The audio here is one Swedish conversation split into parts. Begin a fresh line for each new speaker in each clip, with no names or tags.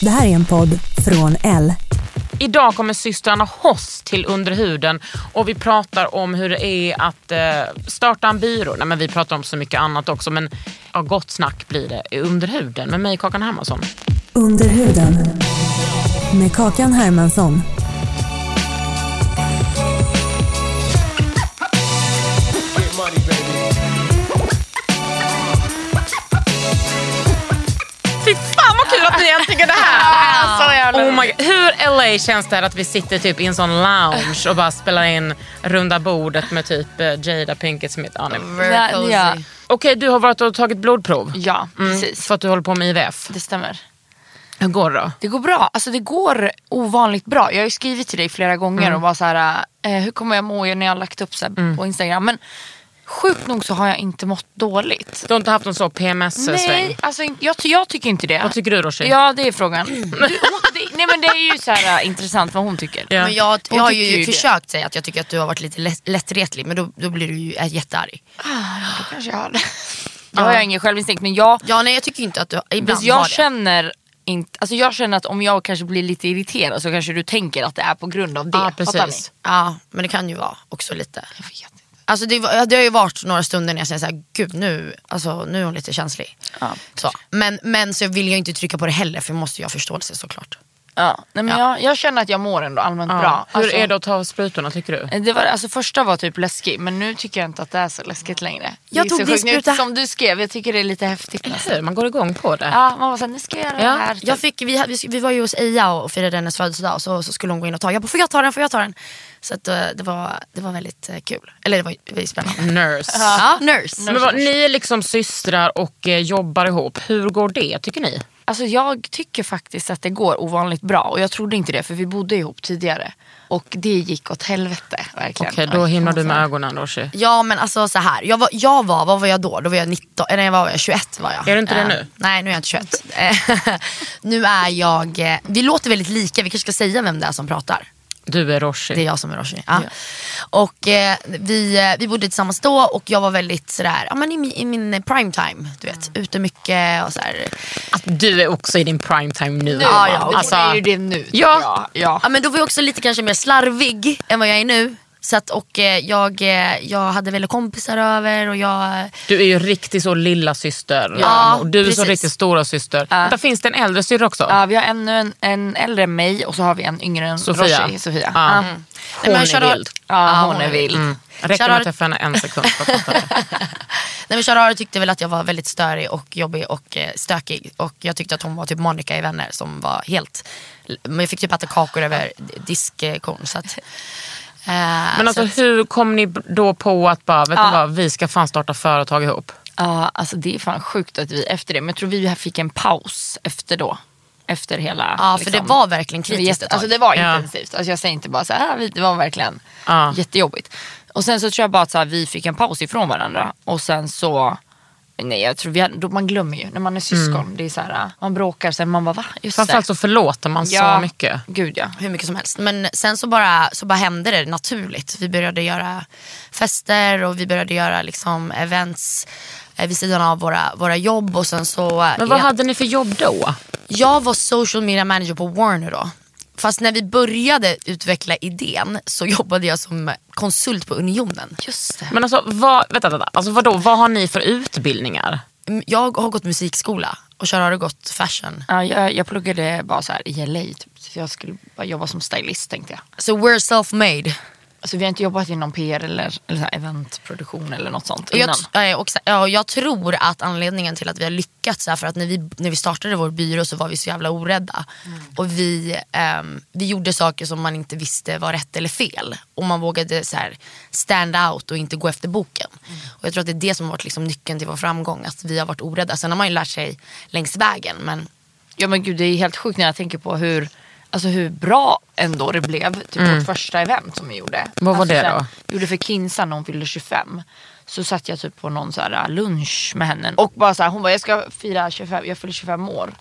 Det här är en podd från L.
Idag kommer systrarna Hoss till Underhuden och vi pratar om hur det är att eh, starta en byrå. Nej, men vi pratar om så mycket annat också men ja, gott snack blir det i Underhuden med mig Kakan Hermansson.
Under huden. Med Kakan Hermansson.
Fy fan vad kul att ni äntligen är här! oh my God. Hur LA känns det här att vi sitter typ i en sån lounge och bara spelar in runda bordet med typ eh, Jada Pinkett Smith? Ja, nej.
Ja,
cozy.
ja.
Okej, du har varit och tagit blodprov?
Ja,
Mm,
precis.
För att du håller på med IVF.
Det stämmer.
Hur går det då?
Det går bra. Alltså det går ovanligt bra. Jag har ju skrivit till dig flera gånger
Mm.
och var så här, eh, hur kommer jag må när jag har lagt upp så här på Instagram. Men sjukt nog så har jag inte mått dåligt.
Du har inte haft någon sån PMS-sväng?
Nej, alltså, inte- jag, ty- jag tycker inte det.
Vad tycker du Roshi?
Ja, det är frågan. Du, hon, det, nej men det är ju så här äh, intressant vad hon tycker.
Ja.
Men jag,
Hon
jag har
tycker ju
ju
det.
försökt säga att jag tycker att du har varit lite lätt, lättretlig men då, då blir du ju äh, jättearg.
Då kanske jag har det. Jag har ingen självinsikt men jag,
Ja nej jag tycker inte att du ibland
Fast jag
har det.
känner inte, alltså jag känner att om jag kanske blir lite irriterad så kanske du tänker att det är på grund av det.
Ja,
Fattar ni?
precis.
Ja men det kan ju vara också lite.
Jag vet inte.
Alltså det, var- det har ju varit några stunder när jag känner såhär, gud nu, alltså, nu är hon lite känslig.
Ja.
Så. Men, men så vill jag inte trycka på det heller för jag måste ju ha förståelse såklart.
Ja, nej, men Jag, jag känner att jag mår ändå allmänt
Ja.
bra.
Hur
Alltså,
är det att ta sprutorna tycker du?
det var, alltså första var typ läskig men nu tycker jag inte att det är så läskigt längre.
Jag
det är
tog
så
din
sjukt. Nu,
spruta.
Som du skrev, jag tycker det är lite häftigt.
Eller hur? Man går igång på det.
Ja, man var såhär, nu ska jag göra
Ja,
det här. Typ.
Alltså, Jag fick, vi, vi, vi var ju hos Eja och firade hennes födelsedag och så, så skulle hon gå in och ta. Jag bara, får jag ta den, får jag ta den? Så att, eh, det, var, det var väldigt eh, kul. Eller det var, det var ju spännande.
Nurse.
Ja, nurse.
Men vad, ni är liksom systrar och eh, jobbar ihop. Hur går det tycker ni?
Alltså jag tycker faktiskt att det går ovanligt bra och jag trodde inte det för vi bodde ihop tidigare. Och det gick åt helvete verkligen.
Okej, då himlar du med ögonen Roshi.
Ja men alltså så här. Jag var, jag var vad var jag då? Då var jag 19, eh, nej vad var jag? 21 var jag.
Är du inte det
Eh,
nu?
Nej nu är jag inte 21. Eh, nu är jag, eh, vi låter väldigt lika, vi kanske ska säga vem det är som pratar.
Du är Roshi.
Det är jag som är Roshi. Ja. Och eh, vi, eh, vi bodde tillsammans då och jag var väldigt sådär, ja men i min, i min prime time, du vet. Ute mycket och sådär.
Att du är också i din prime time nu.
Ja,
Emma.
ja,
Alltså,
alltså,
det är ju det nu.
Ja.
ja.
Ja men då var jag också lite kanske mer slarvig än vad jag är nu. Så att, och eh, jag, eh, jag hade väl kompisar över och jag
Du är ju riktigt så lilla syster.
Ja,
och du är så
precis.
riktigt stora syster. Vänta, finns det en äldre syster också?
Ja, vi har ännu en, en äldre än mig och så har vi en yngre än
Sofia.
Roshi, Sofia.
Ja.
Ja.
Hon
men
är
Charlotte-
vild.
Mm.
Mm.
Ja, hon är vild.
Räcker med
Charlotte-
att träffa henne en sekund för att fatta det.
Nej men Charara tyckte väl att jag var väldigt störig och jobbig och eh, stökig. Och jag tyckte att hon var typ Monica i Vänner som var helt... Men jag fick typ äta kakor över diskkorn. Så att, eh,
Men
så
alltså
att,
hur kom ni då på att bara, vet
Ja.
du vad, vi ska fan starta företag ihop?
Ja, alltså det är fan sjukt att vi efter det, men jag tror vi fick en paus efter då. Efter hela... liksom,
ja för
liksom-
det var verkligen
Det var
kritiskt ett
jätte,
tag.
alltså det var
Ja.
intensivt. Alltså jag säger inte bara så här, "Ah, det var verkligen
Ja.
jättejobbigt. Och sen så tror jag bara att så här, vi fick en paus ifrån varandra. Och sen så, nej jag tror vi hade, då, man glömmer ju när man är syskon. Det är så här, ah, man bråkar sen man bara va? Just det.
Mm. Framförallt så förlåter man så mycket.
Gud ja.
Hur mycket som helst. Men sen så bara, så bara hände det naturligt. Vi började göra fester och vi började göra liksom events eh, vid sidan av våra, våra jobb. Och sen så,
Men vad
jag-
hade ni för jobb då?
Jag var social media manager på Warner då. Fast när vi började utveckla idén så jobbade jag som konsult på Unionen.
Just det.
Men alltså, vad, vänta, vänta. Alltså vadå, vad har ni för utbildningar?
Mm, Jag har gått musikskola och Char har du gått fashion.
Ja, jag, jag pluggade bara så här i LA typ. Så jag skulle bara jobba som stylist tänkte jag.
Så we're self-made.
Alltså, vi har inte jobbat inom PR eller, eller så här eventproduktion eller något sånt
Och
innan.
jag, t- eh, och, sa- ja, och jag tror att anledningen till att vi har lyckats är för att när vi, när vi startade vår byrå så var vi så jävla orädda.
Mm.
Och vi, ehm, vi gjorde saker som man inte visste var rätt eller fel. Och man vågade så här, stand out och inte gå efter boken.
Mm.
Och jag tror att det är det som har varit liksom, nyckeln till vår framgång. Att vi har varit orädda. Sen har man ju lärt sig längs vägen. Men
Ja men gud det är helt sjukt när jag tänker på hur, alltså hur bra ändå det blev. Typ vårt första event som vi gjorde.
Vad var
alltså,
det
så här,
då?
vi Gjorde för Kinsa när hon fyllde 25. Så satt jag typ på någon så här lunch med henne. Och bara så här, hon bara jag ska fira 25, jag fyller 25 år.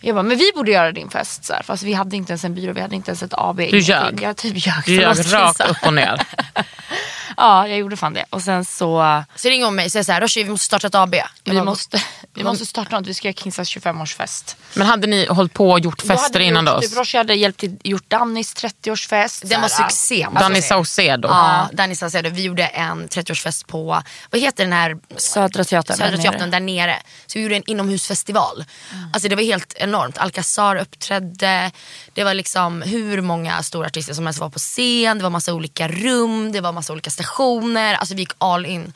Jag bara, men vi borde göra din fest. Så här. Fast vi hade inte ens en byrå, vi hade inte ens ett AB. ingenting.
ljög.
Jag typ ljög.
Du
förlåt,
ljög rakt
Kinsa.
upp och ner.
Ja, jag gjorde fan det. Och sen så
så ringer hon mig och säger så här, "Roshi, vi måste starta ett AB. Jag
Vi
bara,
måste, vi måste starta något, vi ska göra Kinsas 25-årsfest.
Men hade ni hållit på och gjort fester innan
gjort,
dess?
Typ, Roshi hade hjälpt till, gjort Dannys 30-årsfest.
Den var
så här,
succé. måste jag
Danny
säga.
Saucedo.
Alltså, Ja, Danny Saucedo. Vi gjorde en 30-årsfest på, vad heter den här
Södra Teatern.
Södra
där nere. Mm.
Teatern där nere. Så vi gjorde en inomhusfestival. Alltså det var helt enormt. Alcazar uppträdde. Det var liksom hur många stora artister som helst var på scen. Det var massa olika rum, det var massa olika stationer. Alltså vi gick all in.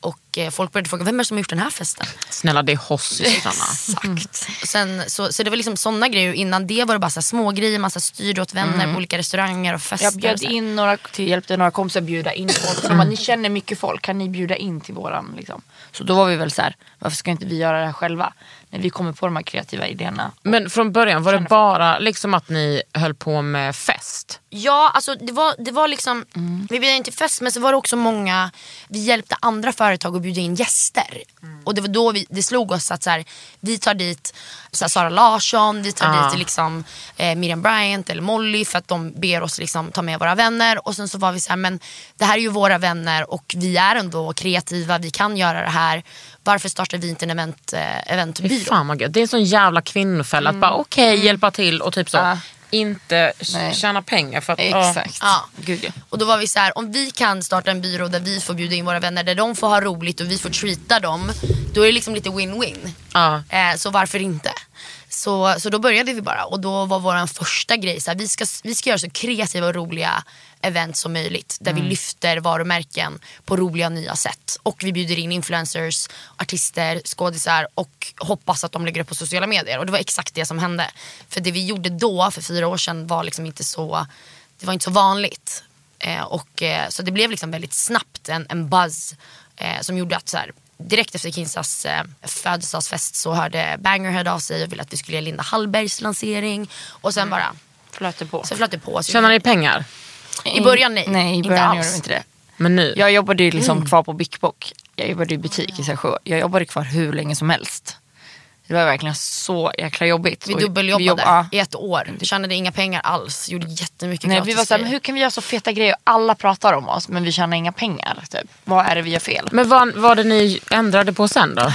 Och eh, folk började fråga, vem är det som har gjort den här festen?
Snälla det är Hoss-systrarna.
Exakt. Och Sen, så, så det var liksom sådana grejer. Innan det var det bara så här små grejer, massa styr åt vänner på olika restauranger och fester.
Mm. Jag
och
bjöd
så här.
in några, till, hjälpte några kompisar bjuda in folk. De bara, ni känner mycket folk, kan ni bjuda in till våran? Liksom? Så då var vi väl så här, varför ska inte vi göra det här själva? När vi kommer på de här kreativa idéerna.
Men från början var det bara liksom att ni höll på med fest?
Ja, alltså det var, det var liksom, vi bjöd in till fest men så var det också många, vi hjälpte andra företag att bjuda in gäster.
Mm.
Och det var då vi, det slog oss att så här, vi tar dit så här, Sara Larsson, vi tar
Ah.
dit liksom, eh, Miriam Bryant eller Molly för att de ber oss liksom, ta med våra vänner. Och sen så var vi så här, men det här är ju våra vänner och vi är ändå kreativa, vi kan göra det här. Varför startar vi inte en event, eh,
Fy
eventbyrå?
Fan vad gött. Det är en sån jävla kvinnofälla att bara okej hjälpa till och typ så.
Mm. Ja.
Inte
Nej.
Nej. tjäna pengar för att... ja.
Exakt.
Ja.
Gud, ja.
Och då var vi så här, om vi kan starta en byrå där vi får bjuda in våra vänner, där de får ha roligt och vi får treata dem, då är det liksom lite win-win.
Ja.
Eh, så varför inte? Så, så då började vi bara och då var vår första grej så här, vi, ska, vi ska göra så kreativa och roliga event som möjligt där vi lyfter varumärken på roliga och nya sätt. Och vi bjuder in influencers, artister, skådisar och hoppas att de lägger upp på sociala medier. Och det var exakt det som hände. För det vi gjorde då, för fyra år sedan, var liksom inte så, det var inte så vanligt. Eh, och, eh, så det blev liksom väldigt snabbt en, en buzz eh, som gjorde att så här, direkt efter Kinsas eh, födelsedagsfest så hörde Bangerhead av sig och ville att vi skulle göra Linda Hallbergs lansering. Och
Mm.
sen bara
Flöter på.
så flöt det på. Så
Tjänar ni pengar?
I början nej.
Nej, i
Inte
början
alls. Mm.
gjorde vi inte det.
Men nu?
Jag jobbade ju liksom kvar på Big Bock. Jag jobbade i butik i Sävsjö. Jag jobbade kvar hur länge som helst. Det var verkligen så jäkla jobbigt.
Vi
Och vi
dubbeljobbade
jobb- ja. Mm.
i ett år. Tjänade inga pengar alls. Gjorde jättemycket
Nej, vi
gratis
var såhär, men
grejer.
hur kan vi göra så feta grejer? Alla pratar om oss men vi tjänar inga pengar. Typ. Vad är det vi gör fel?
Men vad var det ni ändrade på sen då?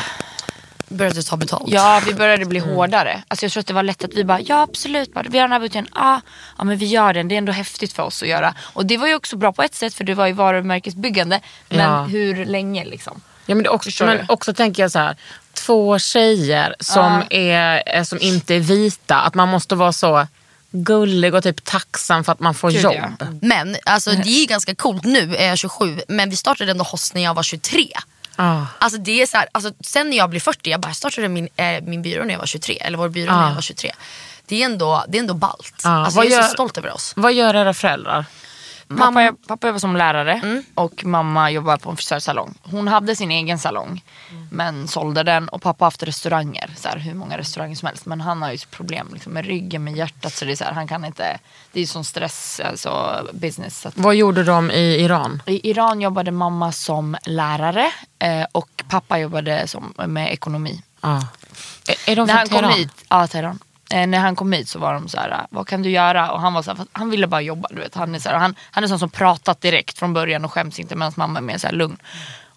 Började ta betalt.
Ja, vi började bli
Mm.
hårdare. Alltså jag tror att det var lätt att vi bara, ja absolut, bara, vi har den här budgeten, ah, ja men vi gör den, det är ändå häftigt för oss att göra. Och det var ju också bra på ett sätt för det var ju varumärkesbyggande, men
Ja.
hur länge liksom?
Ja, men det är också,
Förstår
men
du?
också tänker jag så här. Två tjejer som, är, eh, som inte är vita. Att man måste vara så gullig och typ tacksam för att man får
Gud, ja.
jobb.
Men alltså, det är ganska coolt. Nu är jag 27 men vi startade ändå Hoss när jag var 23.
Ah.
Alltså det är så här, alltså sen när jag blev 40, jag bara jag startade min, eh, min byrå när jag var 23. Eller vår byrå när
Ja.
jag var 23. Det är ändå, det är ändå ballt.
Ja,
Alltså
vad
jag är
gör-
så stolt över oss.
Vad gör era föräldrar?
Pappa, jobb- pappa jobbar som lärare och mamma jobbar på en frisörsalong. Hon hade sin egen salong men sålde den och pappa har haft restauranger, så här, hur många restauranger som helst. Men han har ju problem liksom, med ryggen, med hjärtat så det är så här, han kan inte, det är ju sån stress, alltså business. Så att
Vad gjorde de i Iran?
I Iran jobbade mamma som lärare eh, och pappa jobbade som, med ekonomi.
Ah. Är, är de
När
från
han kom
Teheran?
hit, ja, Teheran. Eh, när han kom hit så var de så här, vad kan du göra? Och han var så här, fast han ville bara jobba. Du vet. Han, är så här, han, han är sån som pratat direkt från början och skäms inte medan mamma är mer så här lugn.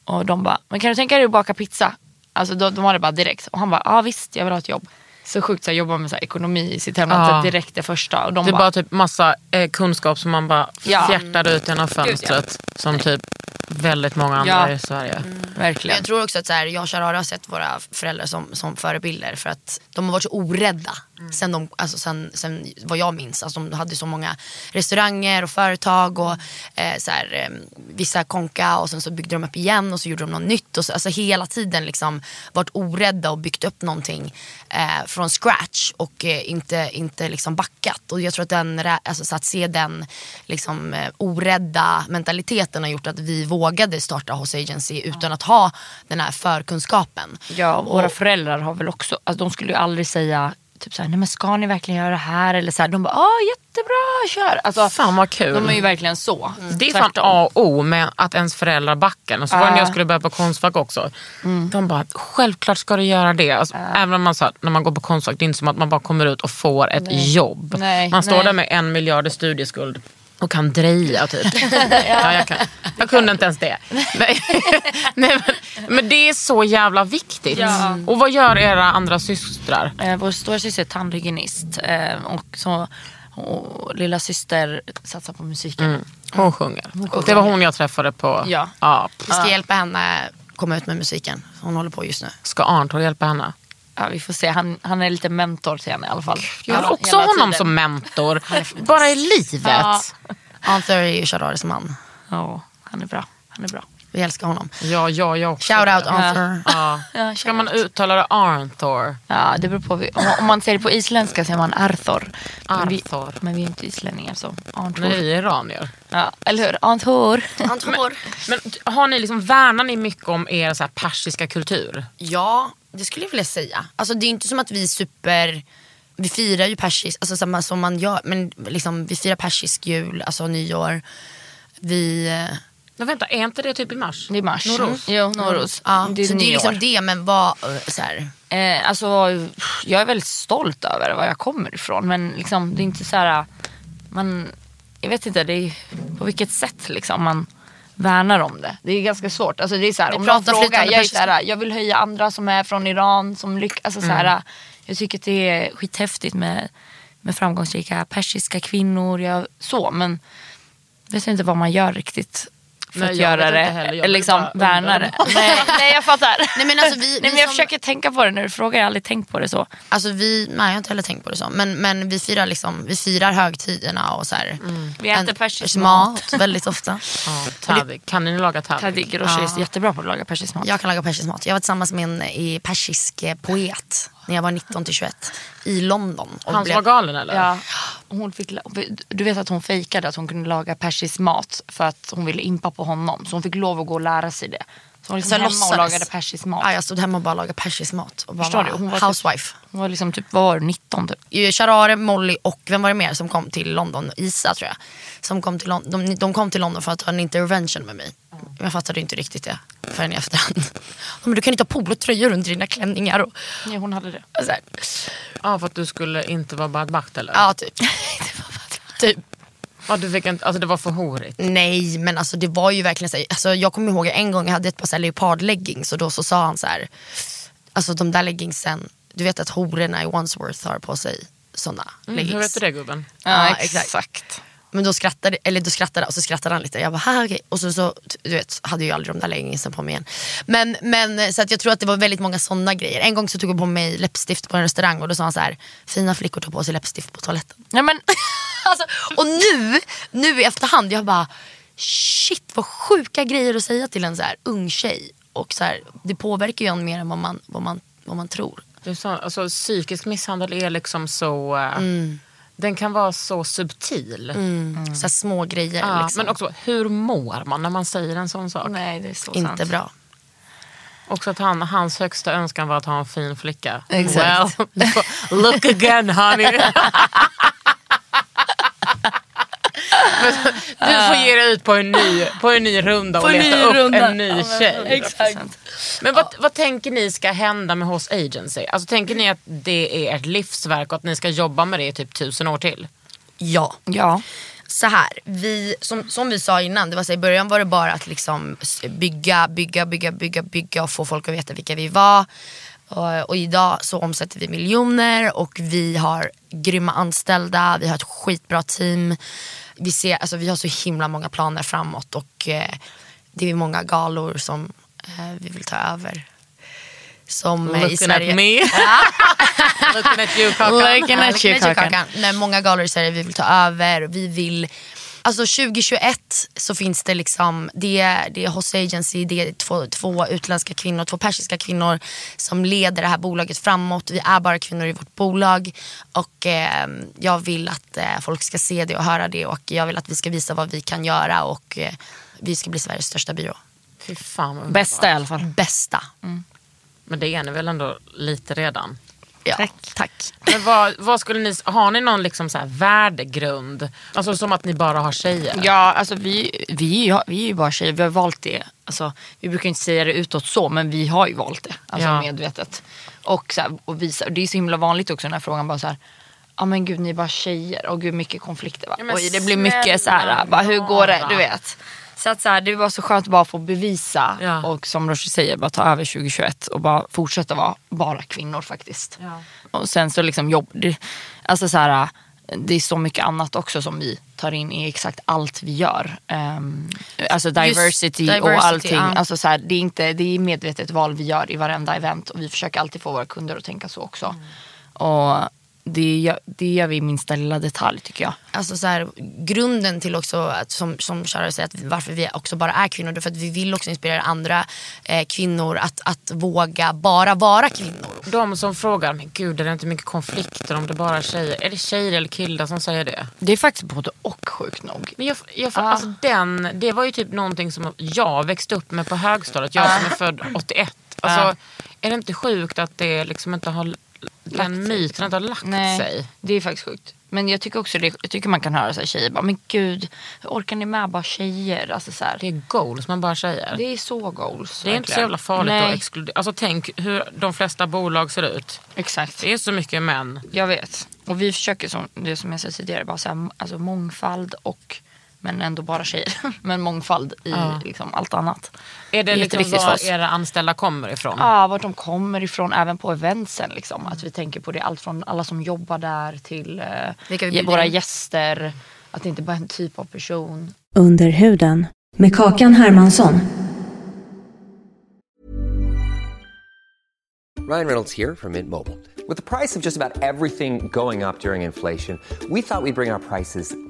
Och de bara, men kan du tänka dig att baka pizza? Alltså de, de var det bara direkt. Och han bara, ja ah, visst jag vill ha ett jobb. Så sjukt så här, jobba med så här, ekonomi i sitt hemland
Ja.
så här, direkt det första. Och de
Det är
bara,
bara typ massa eh, kunskap som man bara
Ja.
fjärtar ut genom
ja.
fönstret. Som typ väldigt många andra
Ja. Mm.
i Sverige.
Men
Verkligen.
jag tror också att så här, jag och Shahar har sett våra föräldrar som, som förebilder för att de har varit så orädda sen, de, alltså sen, sen vad jag minns. Alltså de hade så många restauranger och företag och eh, så här, eh, vissa konka och sen så byggde de upp igen och så gjorde de något nytt. Och så, alltså hela tiden liksom varit orädda och byggt upp någonting eh, från scratch och eh, inte, inte liksom backat. Och jag tror att, den, rä- alltså, så att se den liksom, eh, orädda mentaliteten har gjort att vi vågade starta Hoss Agency utan att ha den här förkunskapen.
Ja, och våra föräldrar har väl också, alltså, de skulle ju aldrig säga typ såhär, nej men ska ni verkligen göra det här? Eller såhär, de bara, ja jättebra, kör. Alltså,
Fan vad kul. Mm.
de är ju verkligen så.
Det är fan A och O med att ens föräldrar backar. Och så var det när
Ah.
jag skulle börja på Konstfack också.
Mm.
De bara, självklart ska du göra det. Alltså,
Ah.
Även om man, så här, när man går på Konstfack, det är inte som att man bara kommer ut och får ett jobb.
Nej,
man står
nej.
där med en miljard i studieskuld och kan dreja typ. ja, jag, kan. jag kunde inte ens det. Men, nej, men, men det är så jävla viktigt.
Ja.
Och vad gör era andra systrar?
Eh, vår stora syster är tandhygienist eh, och, så, och lilla syster satsar på musiken.
Mm. Hon sjunger. Det var hon jag träffade på...
Ja.
p-
Vi ska hjälpa henne komma ut med musiken. Hon håller på just nu.
Ska Arntor hjälpa henne?
Ja, vi får se, han, han är lite mentor till henne i alla fall.
Jag vill
Ja,
också ha
hela
honom
tiden.
som mentor. Bara i livet.
Ja.
Arthur är ju Shahraris man.
Ja, han är bra. Han är bra.
Vi älskar honom.
Ja, ja, jag också.
Shout out Arthur.
Ja.
Ja,
Ska man uttala det Arntor?
Ja, det beror på. Om, om man säger det på isländska säger man Arthur. Men vi,
Arthur.
men vi är inte islänningar så
När
Arthur.
vi är iranier.
Ja, eller hur? Arthur.
Antor.
Men har ni liksom, värnar ni mycket om er så här persiska kultur?
Ja, det skulle jag vilja säga. Alltså det är inte som att vi är super... Vi firar ju persisk, alltså samma som man gör, men liksom, vi firar persisk jul, alltså nyår. Vi... eh,
Men vänta, är inte det typ i mars?
Det är mars.
Noros.
Jo, Noros.
Ja,
det är
så det är
nyår.
liksom det, men vad... eh, Så här,
Eh, alltså, jag är väldigt stolt över var jag kommer ifrån. Men liksom, det är inte så här... Man, jag vet inte det är, på vilket sätt liksom, man värnar om det. Det är ganska svårt. Alltså, det är så här,
Vi
om någon
pratar
frågar,
flytande
jag, är så
persiska.
här, jag vill höja andra som är från Iran. Som lyck, alltså, så
Mm.
här, jag tycker att det är skithäftigt med, med framgångsrika persiska kvinnor. Jag, så, men jag vet inte vad man gör riktigt. För
Nej,
att
jag
göra
vet
det,
inte heller. Jag
eller
vill
liksom
bara undra.
värna det. Nej, nej jag fattar.
Nej, men alltså, vi-
Nej,
vi
men jag
som-
försöker tänka på det när du frågar, jag har aldrig tänkt på det så.
alltså vi, nej jag har inte heller tänkt på det så, men, men vi, firar liksom, vi firar högtiderna och så här,
Mm. Vi äter
en-
persisk
mat väldigt ofta.
Ja, tavik. Kan ni laga tavik?
Tadik Groshi är jättebra på att laga persisk mat.
Jag kan laga persisk mat. Jag var tillsammans med en eh, persisk eh, poet när jag var 19 till 21 i London. Och
Han som var galen eller?
Ja. Hon fick, la- du vet att hon fejkade att hon kunde laga persisk mat för att hon ville impa på honom. Så hon fick lov att gå och lära sig det. Så hon liksom
Så Alltså, jag
hemma och
låtsades.
lagade persisk mat.
Ja, jag stod hemma och bara lagade persisk mat och bara
Förstår
var
du? Hon var
housewife.
Typ, hon var liksom typ, vad var du, 19 typ?
Eh, Charare, Molly och vem var det mer som kom till London? Isa tror jag. Som kom till London. De, de kom till London för att ha en intervention med mig. Men jag fattade inte riktigt det förrän i efterhand. Men du kan inte ha polotröjor under dina klänningar. Och,
Nej, hon hade det.
och så här.
Ja, för att du skulle inte vara badbakt eller?
Ja, typ. typ.
Ja, du fick inte, alltså det var för horigt.
Nej men alltså det var ju verkligen så här, alltså, jag kommer ihåg en gång jag hade ett par så här leopardleggings och då så sa han så här, alltså de där leggingsen, du vet att hororna i Wandsworth har på sig sådana
Mm,
leggings.
hur vet du det gubben?
Ja, exakt. Men då skrattade, eller då skrattade och så skrattade han lite. Jag bara, "Haha, okej. Och så, så du vet, hade jag aldrig de där leggingsen på mig igen. Men, men så att jag tror att det var väldigt många sådana grejer. En gång så tog jag på mig läppstift på en restaurang och då sa han så här, fina flickor tar på sig läppstift på toaletten.
Nej, men,
Alltså, och nu, nu i efterhand, jag bara shit vad sjuka grejer att säga till en så här ung tjej. Och så här, det påverkar ju en mer än vad man, vad man, vad man tror.
Du sa, alltså, psykisk misshandel är liksom så... eh, Den kan vara så subtil.
Så här små grejer
Mm. Ja,
Mm. liksom.
Men också, hur mår man när man säger en sån sak?
nej, det är så
inte
sant.
bra.
Också att han, hans högsta önskan var att ha en fin flicka.
Exakt.
Well, look again honey. Men du får ge dig ut på en ny, på en ny runda och leta upp en ny tjej. Men vad, vad tänker ni ska hända med Hoss Agency? Alltså, tänker ni att det är ett livsverk och att ni ska jobba med det i typ tusen år till?
Ja.
Ja.
så här, vi, som, som vi sa innan, det var så här, i början var det bara att liksom s- bygga, bygga, bygga, bygga, bygga och få folk att veta vilka vi var. Och, och idag så omsätter vi miljoner och vi har grymma anställda, vi har ett skitbra team. Vi, ser, alltså, vi har så himla många planer framåt och eh, det är många galor som eh, vi vill ta över. Som eh, i
Looking at
Sverige.
me. Looking at you Kakan.
Looking
at you, Kakan.
Nej, många galor i Sverige vi vill ta över. Vi vill, alltså 2021 så finns det liksom, det, är- det är Hoss Agency, det är två, två utländska kvinnor, två persiska kvinnor som leder det här bolaget framåt. Vi är bara kvinnor i vårt bolag och eh, jag vill att eh, folk ska se det och höra det och jag vill att vi ska visa vad vi kan göra och eh, vi ska bli Sveriges största byrå.
Fy fan vad underbart.
Bästa i alla fall.
Bästa.
Men det är ni väl ändå lite redan?
Ja, tack. tack.
Men vad, vad skulle ni, har ni någon liksom så här värdegrund? Alltså som att ni bara har tjejer?
Ja, alltså vi, vi, ja, vi är ju bara tjejer, vi har valt det. Alltså, vi brukar inte säga det utåt så, men vi har ju valt det. Alltså
Ja.
medvetet. Och, så här, och, visa, och det är så himla vanligt också den här frågan, bara så här. Ja men gud ni är bara tjejer och gud mycket konflikter va.
Ja, men
Oj det blir mycket så här,
snälla
bara, hur går det?
rara.
Du vet. Så att så här, det var så skönt bara att få bevisa
Ja.
och som Roshi säger bara ta över 2021 och bara fortsätta vara bara kvinnor faktiskt.
Ja.
Och sen så liksom jobb, det, alltså så här, det är så mycket annat också som vi tar in i exakt allt vi gör. Ehm, alltså diversity, och
diversity,
allting.
ja.
Alltså så här, det, är inte, det är medvetet val vi gör i varenda event och vi försöker alltid få våra kunder att tänka så också. Och det, gör- det gör vi i minsta lilla detalj tycker jag.
alltså så här, grunden till också att, som, som Shara säger, att varför vi också bara är kvinnor. Det är för att vi vill också inspirera andra eh, kvinnor att, att våga bara vara kvinnor.
De som frågar, men gud är det inte mycket konflikter om det bara är tjejer? Är det tjejer eller killar som säger det?
Det är faktiskt både och sjukt nog.
Men jag, jag, alltså, den, det var ju typ någonting som jag växte upp med på högstadiet. Jag som är född 81. Alltså, Är det inte sjukt att det liksom inte har, den myten inte har lagt sig?
det är faktiskt sjukt. Men jag tycker också det, jag tycker man kan höra så här, tjejer bara, men gud, hur orkar ni med bara tjejer? Alltså, så här,
Det är goals man bara säger.
det är så goals.
Det är inte så
verkligen.
jävla farligt
Nej,
att exkludera. Alltså tänk hur de flesta bolag ser ut.
Exakt,
Det är så mycket män.
jag vet. Och vi försöker som, det som jag sa tidigare, bara så här, alltså, mångfald och men ändå bara tjejer. Men mångfald i liksom, allt annat.
Är det,
inte
liksom
riktigt för
var
oss.
era anställda kommer ifrån?
Ja, vart de kommer ifrån, även på eventsen. Liksom. Att vi tänker på det, allt från alla som jobbar där till eh,
Vilka vi
ge-
bjuder
våra
in.
gäster. Att det inte bara är en typ av person.
Under huden. Med Kakan Hermansson.
Ryan Reynolds here from Mint Mobile. With the price of just about everything going up during inflation, we thought we'd bring our prices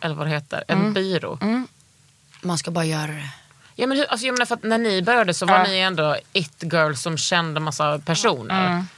eller vad det heter, en
Mm.
byrå.
Man ska bara göra det.
Ja, men hur, alltså, jag menar för att när ni började så var ni ändå it girls som kände massa personer.
Mm.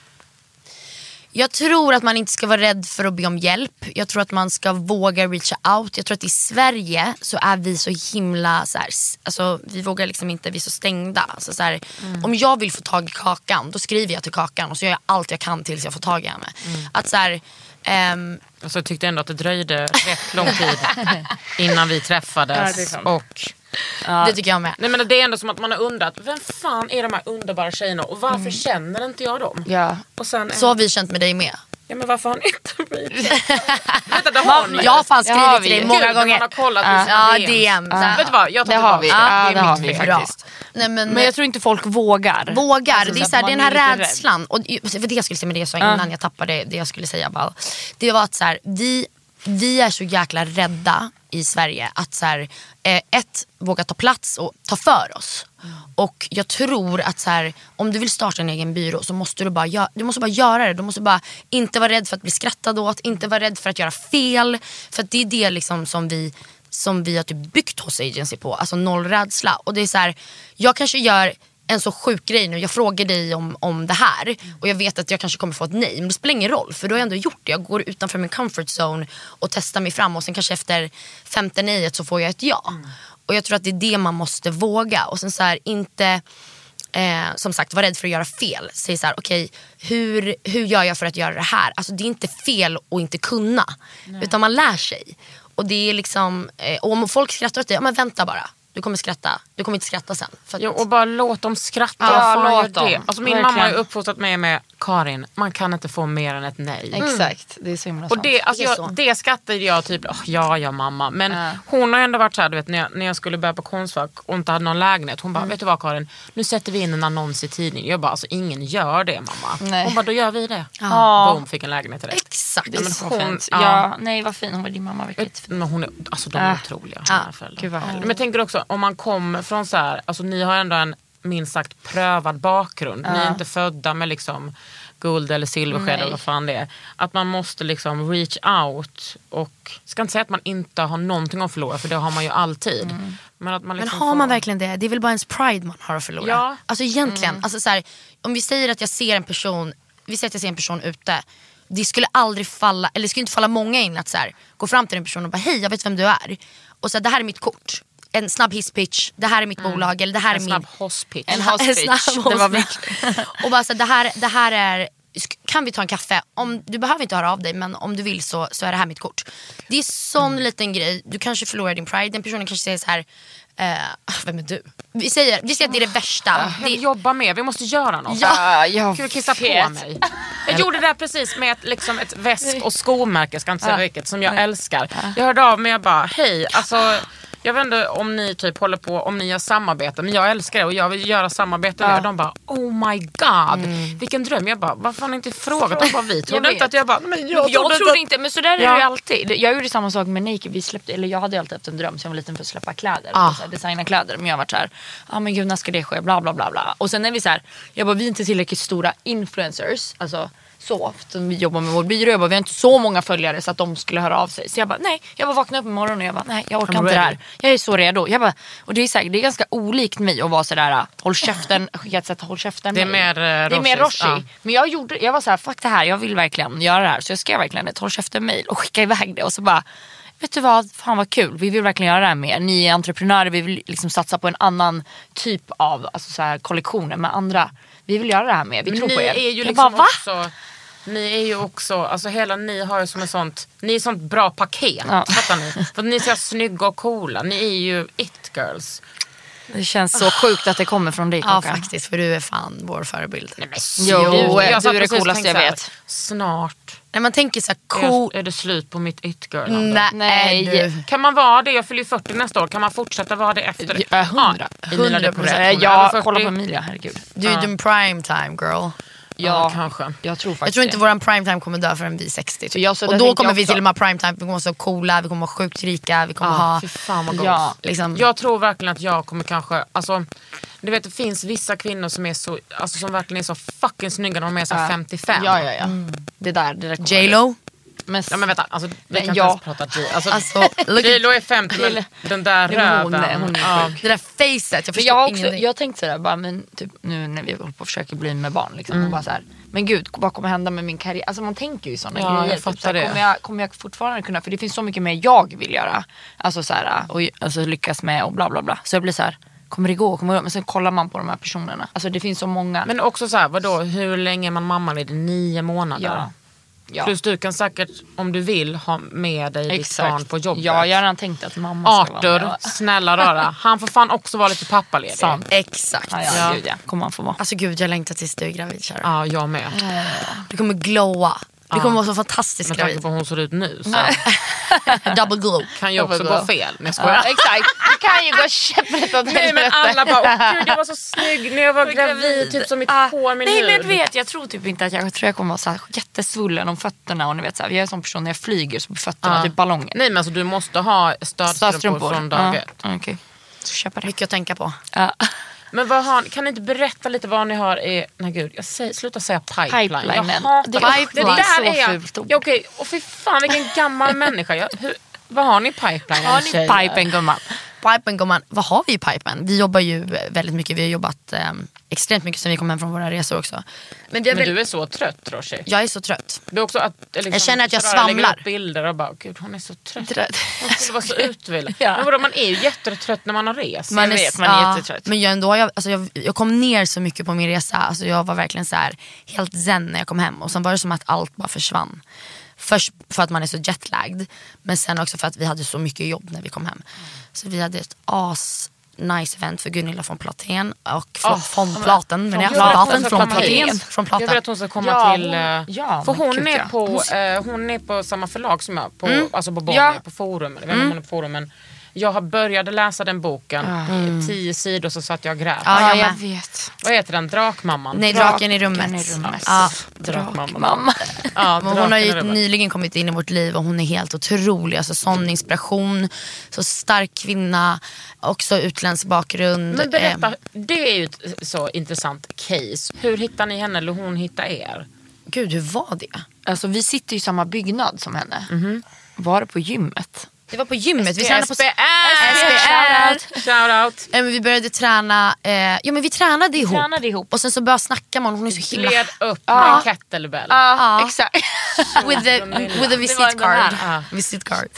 Jag tror att man inte ska vara rädd för att be om hjälp. Jag tror att man ska våga reacha out. Jag tror att i Sverige så är vi så himla, så här, s- alltså, vi vågar liksom inte, vi är så stängda. Alltså, så här,
Mm.
Om jag vill få tag i Kakan, då skriver jag till Kakan och så gör jag allt jag kan tills jag får tag i henne.
Mm.
Att så här, ehm,
Alltså, jag tyckte ändå att det dröjde rätt lång tid innan vi träffades. och,
Det tycker jag med.
nej, men det är ändå som att man har undrat, vem fan är de här underbara tjejerna och varför
Mm.
känner inte jag dem?
Ja.
Och sen,
Så har vi känt med dig med.
ja, men varför har ni inte mig? Vänta, det har ni.
Jag har fan
Det har
skrivit till
vi.
dig
Gud,
många
när
gånger.
Man har kollat i sina
Ja,
DMs.
DM. Ja.
Vet du vad, jag tar
Det
tillbaka
har vi. Ja,
det
det
är
har
mitt
vi
fel.
faktiskt.
Nej, men,
Men jag tror inte folk vågar.
vågar.
Alltså,
det, är
så
så här,
att
det är den
man är
här
lite rädd.
rädslan. Och, det var det jag skulle säga, men det jag sa innan jag tappade det jag skulle säga. Bara, det var att så här, vi, vi är så jäkla rädda i Sverige att så här, eh, ett, våga ta plats och ta för oss. Och jag tror att så här, om du vill starta en egen byrå så måste du bara, gö- du måste bara göra det. Du måste bara inte vara rädd för att bli skrattad åt, inte vara rädd för att göra fel. För att det är det liksom som vi som vi har typ byggt hos agency på. Alltså noll rädsla. Och det är så här, jag kanske gör en så sjuk grej nu. Jag frågar dig om, om det här och jag vet att jag kanske kommer få ett nej. Men det spelar ingen roll för då har jag ändå gjort det. Jag går utanför min comfort zone och testar mig fram och sen kanske efter femte nejet så får jag ett ja. Och jag tror att det är det man måste våga. Och sen så här, inte eh, som sagt var rädd för att göra fel. Säg så här, okej hur, hur gör jag för att göra det här? Alltså det är inte fel att inte kunna. Utan man lär sig. Och det är liksom, eh, och om folk skrattar åt dig, ja men vänta bara. Du kommer skratta, du kommer inte skratta sen. För att,
Jo, och bara låt dem skratta.
Ja,
Vad fan
låt
gör
dem.
det? Alltså, min
Verkligen.
mamma har ju uppfostrat mig med Karin, man kan inte få mer än ett nej.
Exakt, det är så himla
Och
sant.
det, alltså
Det är
jag,
så.
det skrattade jag typ, "Åh, ja ja mamma. Men
Ja.
hon har ju ändå varit såhär, du vet när jag, när jag skulle börja på Konstfack och inte hade någon lägenhet. Hon bara,
Mm.
vet du vad Karin, nu sätter vi in en annons i tidningen. Jag bara, alltså ingen gör det mamma.
Nej.
Hon bara, då gör vi det.
Ja.
Boom, fick en lägenhet direkt.
Exakt.
Det är så
hon-
fint.
ja.
Ja. nej vad fin hon var, din mamma var jättefin.
Men hon är, alltså de är
Ah.
otroliga.
Ah.
Ah.
Gud, vad härligt.
Men jag tänker också om man kommer från så här, alltså ni har ändå en minst sagt prövad bakgrund.
Ah.
Ni är inte födda med liksom guld eller silversked eller vad fan det är. Att man måste liksom reach out och, ska inte säga att man inte har någonting att förlora för det har man ju alltid. Men, att man
Mm. Men
liksom
har man
får-
verkligen det? Det är väl bara ens pride man har att förlora?
Ja. Mm.
Alltså egentligen, alltså så här, om vi säger att jag ser en person, vi säger att jag ser en person ute. Det skulle aldrig falla, eller det skulle inte falla många in att så här, gå fram till den personen och bara hej jag vet vem du är. Och så här, det här är mitt kort. En snabb hisspitch, det här är mitt bolag eller det
Mm.
här
en
är
snabb
min...
hosspitch.
En house
en
bitch.
snabb
Det var
hostpitch. och bara så här, det här, det här är, sk- kan vi ta en kaffe? Om, du behöver inte höra av dig men om du vill så, så är det här mitt kort. Det är sån liten grej, du kanske förlorar din pride, den personen kanske säger så här, eh, vem är du? Vi säger, vi säger att det är det värsta.
Jag vill
Det,
jobba med, vi måste göra något.
Ja, jag
Gud, jag kissade på
vet.
mig. Jag gjorde det där precis med ett, liksom ett väsk och skomärke, jag ska inte säga vilket, som jag älskar. Jag hörde av mig och bara, hej, alltså jag vet inte om ni typ håller på, om ni gör samarbete, men jag älskar det och jag vill göra samarbete med er. De bara, oh my god, vilken dröm. Jag bara, varför har ni inte frågat? De bara, vi trodde
Mm.
inte
Jag vet.
att jag bara, men jag,
Jag,
trodde
trodde
inte
inte, men sådär är
Ja.
det ju alltid. Jag gjorde samma sak med Nike. Vi släppte, eller jag hade ju alltid haft en dröm sen jag var liten för att släppa kläder.
Ah.
Och så här, designa kläder. Men jag var såhär, ja ah, men gud när ska det ske? Bla bla bla. bla. Och sen är vi såhär, jag bara vi är inte tillräckligt stora influencers. Alltså så, för att vi jobbar med vår byrå. Jag bara, vi har inte så många följare så att de skulle höra av sig. Så jag bara nej, jag bara vaknade upp imorgon och jag bara nej jag orkar
I'm
inte det
ready.
här. Jag är så redo. Jag bara, och det är säkert, det är ganska olikt mig att vara sådär håll käften, skicka ett sätt håll käften.
Det är
mig.
mer, eh,
det är mer
Roshis,
Roshi.
ja.
Men jag, gjorde, jag var så här, fuck det här, jag vill verkligen göra det här. Så jag skrev verkligen ett håll käften-mail och skickade iväg det. Och så bara, vet du vad, fan vad kul. Vi vill verkligen göra det här med er. Ni är entreprenörer, vi vill liksom satsa på en annan typ av alltså så här, kollektioner med andra. Vi vill göra det här med er, vi tror
ni
på er.
Är ju
jag
liksom
bara, va?
Också, ni är ju också, alltså hela ni har ju som ett sånt, ni är ett sånt bra paket.
Ja.
Fattar ni? För att ni är så här snygga och coola, ni är ju it girls.
Det känns så sjukt att det kommer från dig
ja
Kakan.
faktiskt för du är fan vår förebild. Nej,
Jo,
Jag satt
du är det
precis och
coolaste jag
tänkte så här,
vet.
Snart
När man tänker så här,
är, jag-
cool,
är det slut på mitt it girl
nej,
Nej.
du.
Kan man vara det? Jag fyller ju 40 nästa år. Kan man fortsätta vara det efter?
Ja, hundra.
Ja, Emilia, du är på
100%.
rätt. Hon är över
Eh, Jag
40.
kollar på Emilia, herregud.
Du är din prime time girl.
Ja, kanske.
Jag tror faktiskt
Jag tror inte
det.
våran prime time kommer dö förrän vi är 60. typ.
Jag- så
och
där
då
tänkte
kommer
jag
vi
också. Ah,
till och med ha prime time, vi kommer vara så coola, vi kommer vara sjukt rika, vi kommer ha...
Fy fan vad gott.
Ja.
Liksom,
Jag tror verkligen att jag kommer kanske, alltså, du vet det finns vissa kvinnor som är så, alltså, som verkligen är så fucking snygga när de är så här 55.
Ja, ja, ja. Det där, det där kommer
J Lo,
Men,
Ja men vänta, alltså, vi
Men
kan
ja.
inte ens prata J. Alltså,
Alltså, look at-
J.Lo är 50 men den där
Det var hon,
röven.
hon är
ja.
sjuk.
Ah. det där facet, jag
För
förstår
jag, har också,
ingenting.
jag har tänkt sådär, bara, men typ, nu när vi håller på och försöker bli med barn. Liksom,
Mm.
och bara såhär, men gud, vad kommer hända med min karriär? Alltså man tänker ju sådana
Ja, jag
grejer. typ
fattar
såhär,
det.
Kommer, jag, kommer jag fortfarande kunna, för det finns så mycket mer jag vill göra. Alltså, såhär, och, alltså lyckas med och bla bla bla. Så jag blir såhär, kommer det gå? Kommer det? gå? Men sen kollar man på de här personerna. Alltså det finns så många.
Men också så här, vadå, hur länge är man mammaledig? Nio månader?
ja. Ja.
Plus du kan säkert, om du vill, ha med dig ditt barn på jobbet.
Ja, jag har redan tänkt att mamma ska vara med.
Arthur, snälla rara, han får fan också vara lite pappaledig.
Sant.
Exakt.
Ah, Ja, ja, gud ja. Kommer han få vara.
Alltså gud jag längtar tills du är gravid kära.
Ja, jag
Äh,
med.
Ah.
Du kommer glowa. Du kommer vara så fantastisk
Med tanke
gravid.
på hur hon ser ut nu så
Double glow.
kan ju också
Jag får
gå
gå.
fel. Nej, jag
Ja,
skojar.
exakt, det kan ju gå käpprätt åt
Nej men alla bara, åh gud jag var så snygg när jag var gravid, typ som mitt hår, min
Ah, Nej men
hud.
jag vet, jag tror typ inte att jag, jag tror jag kommer vara så här jättesvullen om fötterna och ni vet så här, jag är en sån person när jag flyger så blir fötterna
Ja.
typ ballonger.
Nej men alltså du måste ha stödstrumpor, från dag ett.
Ja, ah, okej. Ah. Så köper det.
Mycket att tänka på.
Ja.
Men vad har, kan ni inte berätta lite vad ni har i... Nej gud, jag säger, sluta säga pipeline.
Pipelinen.
Jag hatar Alltså,
Det-
det.
pipeline är så
där är jag.
fult ord.
Ja, okej, och fy fan vilken gammal människa. Jag, hur, Vad har ni i pipeline?
Har ni
tjejer?
pipen gumman?
Pipen gumman, vad har vi i pipen? Vi jobbar ju eh, väldigt mycket, vi har jobbat eh, extremt mycket sen vi kom hem från våra resor också. Men vi har
Men
väl,
du är så trött Roshi.
jag är så trött.
Du är också att, eller liksom,
Jag känner att jag
Sara lägger
svamlar.
upp bilder och bara, gud hon är så trött.
Trött.
Hon skulle vara så utvilad.
Ja.
Men vadå, man är ju jättetrött när man har rest.
Man- Jag vet, man är
ja,
jättetrött.
Men jag, ändå, har jag, alltså jag, jag kom ner så mycket på min resa, alltså jag var verkligen så här, helt zen när jag kom hem och sen var det som att allt bara försvann. Först för att man är så jetlagd men sen också för att vi hade så mycket jobb när vi kom hem. Så vi hade ett as nice event för Gunilla von Platén och från,
Ah,
från Platen, men
Jag
jag,
vill att hon
Platen,
ska
från
komma
Platén,
hit.
från
Jag vill
Platen.
att hon ska komma
Ja,
till...
hon-
eh,
ja,
för
men
hon
gud,
är,
ja.
på, eh, hon är på samma förlag som jag, på, alltså på Bonnier,
Ja.
på Forum. Eller, vem hon är på forum men jag har började läsa den boken, i tio sidor så satt jag och grät.
Ja, jag med.
vet.
Vad heter den? Drakmamman?
Nej, Draken i rummet.
i rummet.
Ja.
Mamma.
Ja,
Men hon
Draken
har
i
ju
rummet.
nyligen kommit in i vårt liv och hon är helt otrolig. Alltså, sån inspiration, så stark kvinna, också utländsk bakgrund.
Men berätta,
Eh,
det är ju ett så intressant case. Hur hittar ni henne eller hon hittar er?
gud, hur var det?
Alltså vi sitter ju i samma byggnad som henne. Var det på gymmet?
Det var på gymmet. Vi, tränade på...
SPR! Shoutout!
Eh, men vi började träna, eh, ja, men vi tränade ihop.
tränade ihop.
Och sen så började jag snacka med honom, hon är så himla...
Gled upp med en kettlebell.
Ja.
exakt.
with a, with a
var
visit
den här.
card.
Ah.
visit card.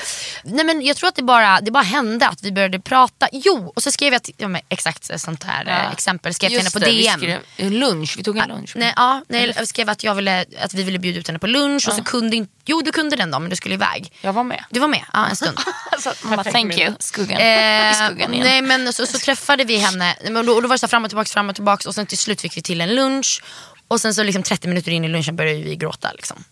Nej, men jag tror att det bara, det bara hände att vi började prata. Jo, och så skrev jag till, ja, men exakt ett sånt här eh, exempel. Skrev till henne
Just
på
det, vi
DM.
skrev- eh, Lunch, vi tog en lunch.
Nej, ja, nej, jag skrev att, jag ville, att vi ville bjuda ut henne på lunch och så kunde inte... Jo, du kunde den dagen men du skulle iväg.
Jag var med.
Du var med ja, en stund.
Alltså, mamma, thank you. Skuggan. I
Eh,
skuggan igen.
nej men så, så träffade vi henne Nej, men då, och då var det så här fram och tillbaka, fram och tillbaka och sen till slut fick vi till en lunch och sen så liksom 30 minuter in i lunchen började vi gråta. Liksom.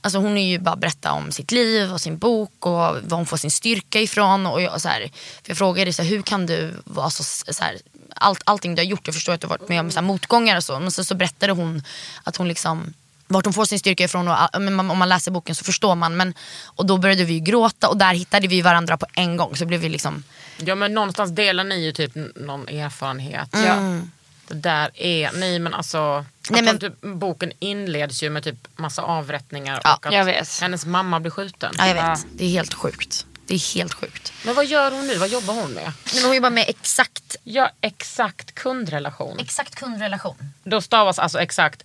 Alltså hon är ju bara berätta om sitt liv och sin bok och var hon får sin styrka ifrån. Och jag, så här, för jag frågade så här, hur kan du vara så, så här, allt, allting du har gjort, jag förstår att du har varit med om så här, motgångar och så. Men så, så berättade hon att hon liksom vart hon får sin styrka ifrån och ja, men man- om man läser boken så förstår man. Men, och då började vi ju gråta och där hittade vi varandra på en gång. Så blev vi liksom
Ja men någonstans delar ni ju typ n- någon erfarenhet.
Mm.
Det där är, nej men alltså.
Nej,
Nej,
men-
men... Typ, boken inleds ju med typ massa avrättningar
Ja,
och att
jag vet.
hennes mamma blir skjuten.
Ja, jag vet. Det är helt sjukt. Det är helt sjukt.
Men vad gör hon nu? Vad jobbar hon med?
Men hon jobbar med exakt,
Ja, exakt kundrelation.
exakt kundrelation.
Då stavas alltså exakt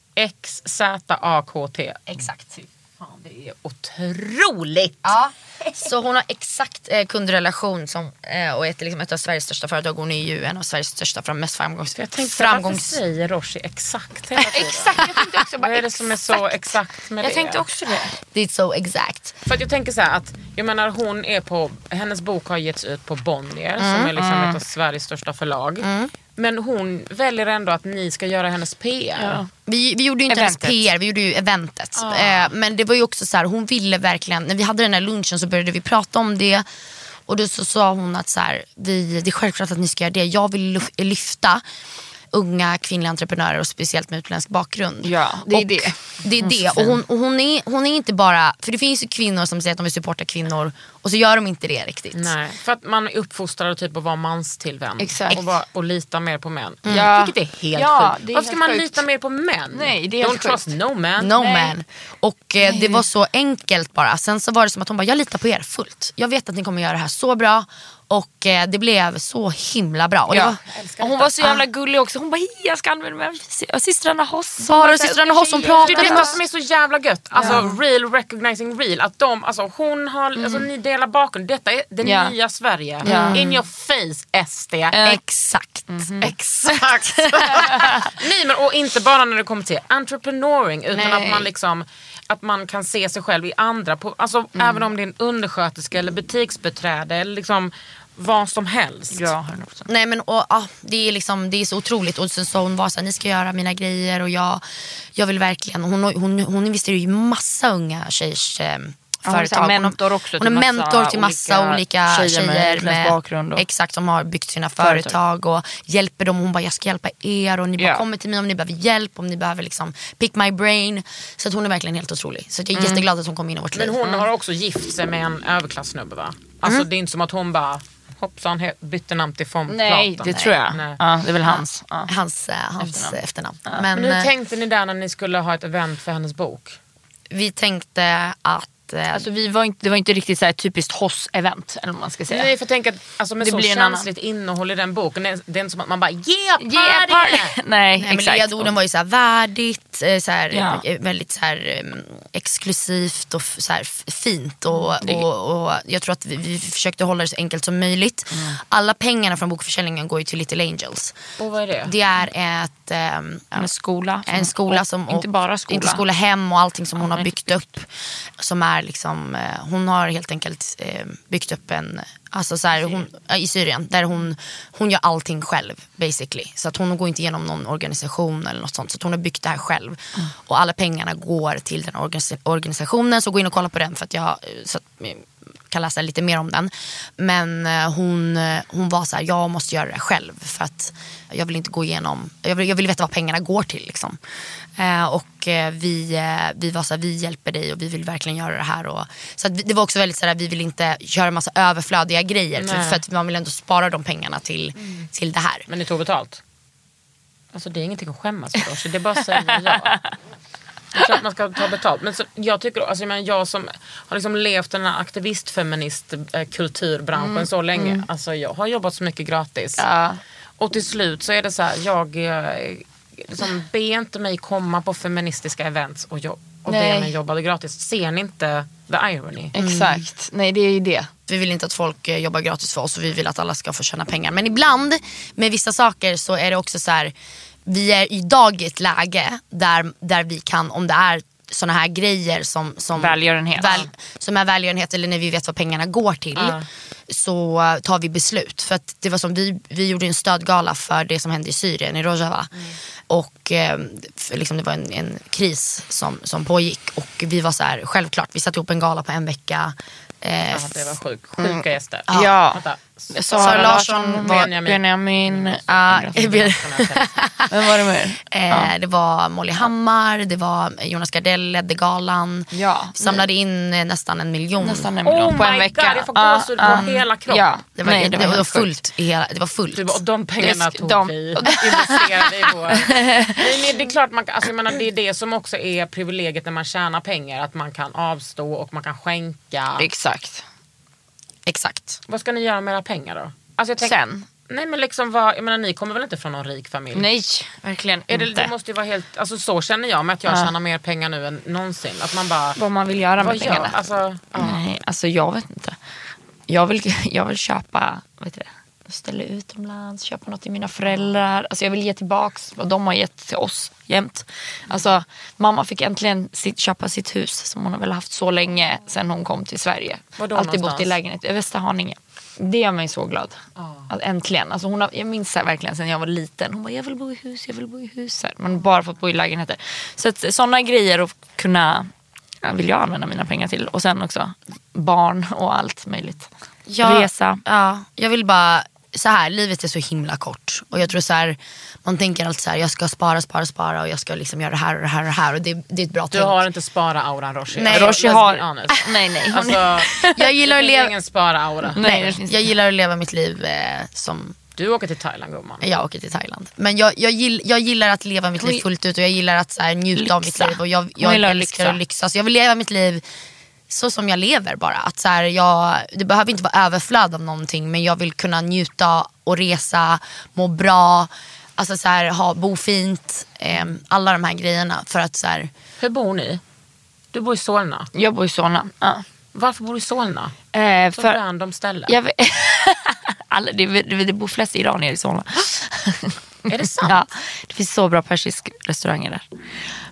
X-Z-A-K-T.
Exakt.
Fan, det är otroligt!
Ja. Så hon har exakt eh, kundrelation som, eh, och är ett- liksom ett av Sveriges största företag. Hon är ju en av Sveriges största, fram, mest framgångs...
För jag tänkte, varför
framgångs...
säger Roshi exakt hela tiden?
Exakt, jag tänkte också bara,
Vad är det som är så exakt med
Jag
det?
tänkte också det.
Det är så exakt.
För att jag tänker så här att, jag menar hon är på, hennes bok har getts ut på Bonnier
Mm.
som är liksom ett av Sveriges största förlag. Men hon väljer ändå att ni ska göra hennes PR.
Vi, vi gjorde ju inte
Eventet. Ah.
ens PR, vi gjorde ju eventet. Eh, men det var ju också så här, hon ville verkligen, när vi hade den här lunchen så började vi prata om det. Och då så sa hon att så här, vi, det är självklart att ni ska göra det. Jag vill lyf- lyfta unga kvinnliga entreprenörer och speciellt med utländsk bakgrund.
Ja, det är
och
det. Mm.
Det är det. Och hon, och hon, är, hon är inte bara, för det finns ju kvinnor som säger att de vill supporta kvinnor och så gör de inte det riktigt.
Nej, för att man är uppfostrad typ att vara manstillvänd
Exakt.
och, vara, och lita mer på män.
Ja.
Vilket är helt
Ja,
sjukt.
det är
Varför ska
helt
man
sjukt.
lita mer på män?
Nej, det är helt
Don't trust
sjukt.
no man.
No man. Och eh, det var så enkelt bara. Sen så var det som att hon bara, jag litar på er fullt. Jag vet att ni kommer göra det här så bra. Och eh, det blev så himla bra. Och det
Ja.
var,
Och hon var så jävla gullig också. Hon bara, "Hej, jag ska använda mig av sy- systrarna Hoss.
Sara och systrarna Hoss, hon
Det
pratade
är
med
detta
oss.
som är så jävla gött. Alltså real recognizing real. Att de, alltså hon har, alltså ni delar bakgrund. Detta är det
Mm. Ja.
nya Sverige.
Ja.
In your face SD.
Exakt.
Exakt. Nej men och inte bara när det kommer till entreprenöring utan
Nej.
att man liksom att man kan se sig själv i andra, på, alltså
Mm.
även om det är en undersköterska eller butiksbeträde eller liksom vad som helst.
Ja,
Nej men och, ja, det, är liksom, det är så otroligt. Och sen så hon var så här, ni ska göra mina grejer och jag, jag vill verkligen. Hon, hon, hon investerar ju i massa unga tjejers eh,
hon är så här
företag. Hon har-
mentor också
hon är
till massa
mentor till massa
olika
olika
tjejer
tjejer,
med utländsk bakgrund och-
Exakt, som har byggt sina
Företag.
företag och hjälper dem. Hon bara, jag ska hjälpa er och ni bara
Ja.
kommer till mig om ni behöver hjälp, om ni behöver liksom pick my brain. Så att hon är verkligen helt otrolig. Så att
Mm.
jag är jätteglad att hon kom in i vårt liv.
Men hon har också gift sig med en överklassnubbe va? Alltså
Mm.
det är inte som att hon bara hoppsan he- bytte namn till von
Nej,
Platen.
det tror jag. Mm.
Nej.
Ja, det är väl hans. Ja.
Hans, eh, hans efternamn. Men,
Men hur
eh,
tänkte ni där när ni skulle ha ett event för hennes bok?
vi tänkte att att... eh,
Alltså, vi var inte, det var inte riktigt så här typiskt hoss-event. Eller vad man ska säga.
Nej, för tänk att alltså, med
Det
så
blir en
känsligt innehåll i den boken, det är- det är inte som att man bara yeah, party!
Yeah, party. Nej,
Nej, men
exakt.
ledorden var ju så här värdigt, eh, så här,
Ja.
eh, väldigt så här, eh, exklusivt och f- så här, f- fint. Och,
Mm,
och, och jag tror att vi, vi försökte hålla det så enkelt som möjligt.
Mm.
Alla pengarna från bokförsäljningen går ju till Little Angels.
Och vad är det?
Det är ett, ehm,
En skola. som-
en skola som...
och, inte bara skola.
Inte skola, hem och allting som hon har
men-
byggt upp. Som är liksom, eh, hon har helt enkelt eh, byggt upp en... Alltså så här, hon, ja, I Syrien. Där hon, hon gör allting själv basically. Så att hon går inte igenom någon organisation eller något sånt. Så att hon har byggt det här själv.
Mm.
Och alla pengarna går till den organisa- organisationen. Så gå in och kolla på den för att jag... eh, Så att, eh, kan läsa lite mer om den. Men eh, hon, eh, hon var så här, jag måste göra det själv för att jag vill inte gå igenom, jag vill, jag vill veta vad pengarna går till. Liksom. Eh, och eh, vi, eh, vi var så här, vi hjälper dig och vi vill verkligen göra det här. Och, så att vi, det var också väldigt så här, vi vill inte göra en massa överflödiga grejer för,
Nej.
för att man vill ändå spara de pengarna till, till det här.
Men ni tog betalt? Alltså det är ingenting att skämmas för Roshi, det är bara att säga ja. Det är klart man ska ta betalt. Men så, jag tycker, alltså, jag, menar, jag som har liksom levt i den här aktivistfeministkulturbranschen så länge. Alltså jag har jobbat så mycket gratis.
Ja.
Och till slut så är det så här, jag eh, liksom, be inte mig komma på feministiska events och, jo- och be
Nej.
mig jobba gratis. Ser ni inte the irony?
Mm.
Exakt. Nej, det är ju det.
Vi vill inte att folk eh, jobbar gratis för oss och vi vill att alla ska få tjäna pengar. Men ibland med vissa saker så är det också så här. Vi är idag i ett läge där, där vi kan, om det är såna här grejer som, som,
Välgörenhet.
som är välgörenhet eller när vi vet vad pengarna går till. Så eh, tar vi beslut. För att det var som vi, vi gjorde en stödgala för det som hände i Syrien, i Rojava. Och eh, för liksom det var en, en kris som, som pågick. Och vi var så här, självklart, vi satte ihop en gala på en vecka. Eh,
Alltså, det var sjuk, sjuka gäster.
Ja.
Vänta.
Sara Larsson var-
Benjamin.
Benjamin.
Ja,
Benjamin. Vem var det mer?
Eh, Det var Molly Hammar, det var Jonas Gardell ledde galan.
Ja.
Vi Samlade in eh, nästan en miljon.
Nästan en miljon
Oh
Mm. på en
my
vecka.
god, jag får
Ja,
gåshud
ja.
på hela kroppen.
Ja.
Det var,
Nej,
det var,
helt sjukt.
fullt. i Hela, det var fullt.
Du bara, Typ, och de pengarna
Det-
tog
de-
vi, investerade i vår... Nej, men det är klart, man, kan- alltså, jag menar, det är det som också är privilegiet när man tjänar pengar. Att man kan avstå och man kan skänka.
Exakt.
Exakt.
Vad ska ni göra med era pengar då? Alltså, jag tänker-
Sen.
Nej men liksom, vad, jag menar, ni kommer väl inte från någon rik familj?
Nej, verkligen
Är det,
inte.
det måste ju vara helt, alltså, så känner jag med att jag tjänar mer pengar nu än någonsin. Att man bara,
Vad man vill göra med
vad gör
pengarna.
alltså, ja.
Nej, alltså jag vet inte. Jag vill, jag vill köpa, vad heter det? Ställa utomlands, köpa något till mina föräldrar. Alltså jag vill ge tillbaks vad de har gett till oss jämt. Alltså mamma fick äntligen sitt, köpa sitt hus som hon har väl haft så länge sedan hon kom till Sverige.
Vadå
Alltid bott i
någonstans?
lägenhet i Västerhaninge. Det gör mig så glad. Att äntligen. Alltså hon har, jag minns så här verkligen sen jag var liten. Hon bara, jag vill bo i hus, jag vill bo i hus. Så här, Man har bara fått bo i lägenheter. Så att sådana grejer att kunna, ja, vill jag använda mina pengar till. Och sen också barn och allt möjligt.
Jag,
Resa.
Ja, jag vill bara, så här, livet är så himla kort. Och jag tror så här, man tänker alltid så här, jag ska spara, spara, spara och jag ska liksom göra det här och det här och det här. Och det, det är ett bra
Du
tänk.
har inte spara-auran Roshi.
Nej,
Alltså,
Roshi
let's be
har-
honest.
Nej, nej. Hon,
Alltså,
Jag gillar
det
att
finns
leva...
ingen spara-aura.
nej, det
Nej,
finns
jag gillar att leva mitt liv eh, som
Du åker till Thailand gumman.
Jag åker till Thailand. Men jag, jag, gill, jag gillar att leva mitt liv fullt ut och jag gillar att så här, njuta av mitt
Lyxa.
liv. Och jag
Hon
jag
gillar
älskar
att lyxa.
att lyxa. Så jag vill leva mitt liv så som jag lever bara. Att så här, jag, det behöver inte vara överflöd av någonting men jag vill kunna njuta och resa, må bra, alltså så här, ha, bo fint. ehm, alla de här grejerna. För att så här,
Hur bor ni? Du bor i Solna.
Jag bor i Solna. Ja.
Varför bor du i Solna?
Eh,
Så
för,
random ställe.
jag, vet- alla, det, det, det bor flest iranier i Solna.
Är det sant?
Ja, det finns så bra persisk restauranger där.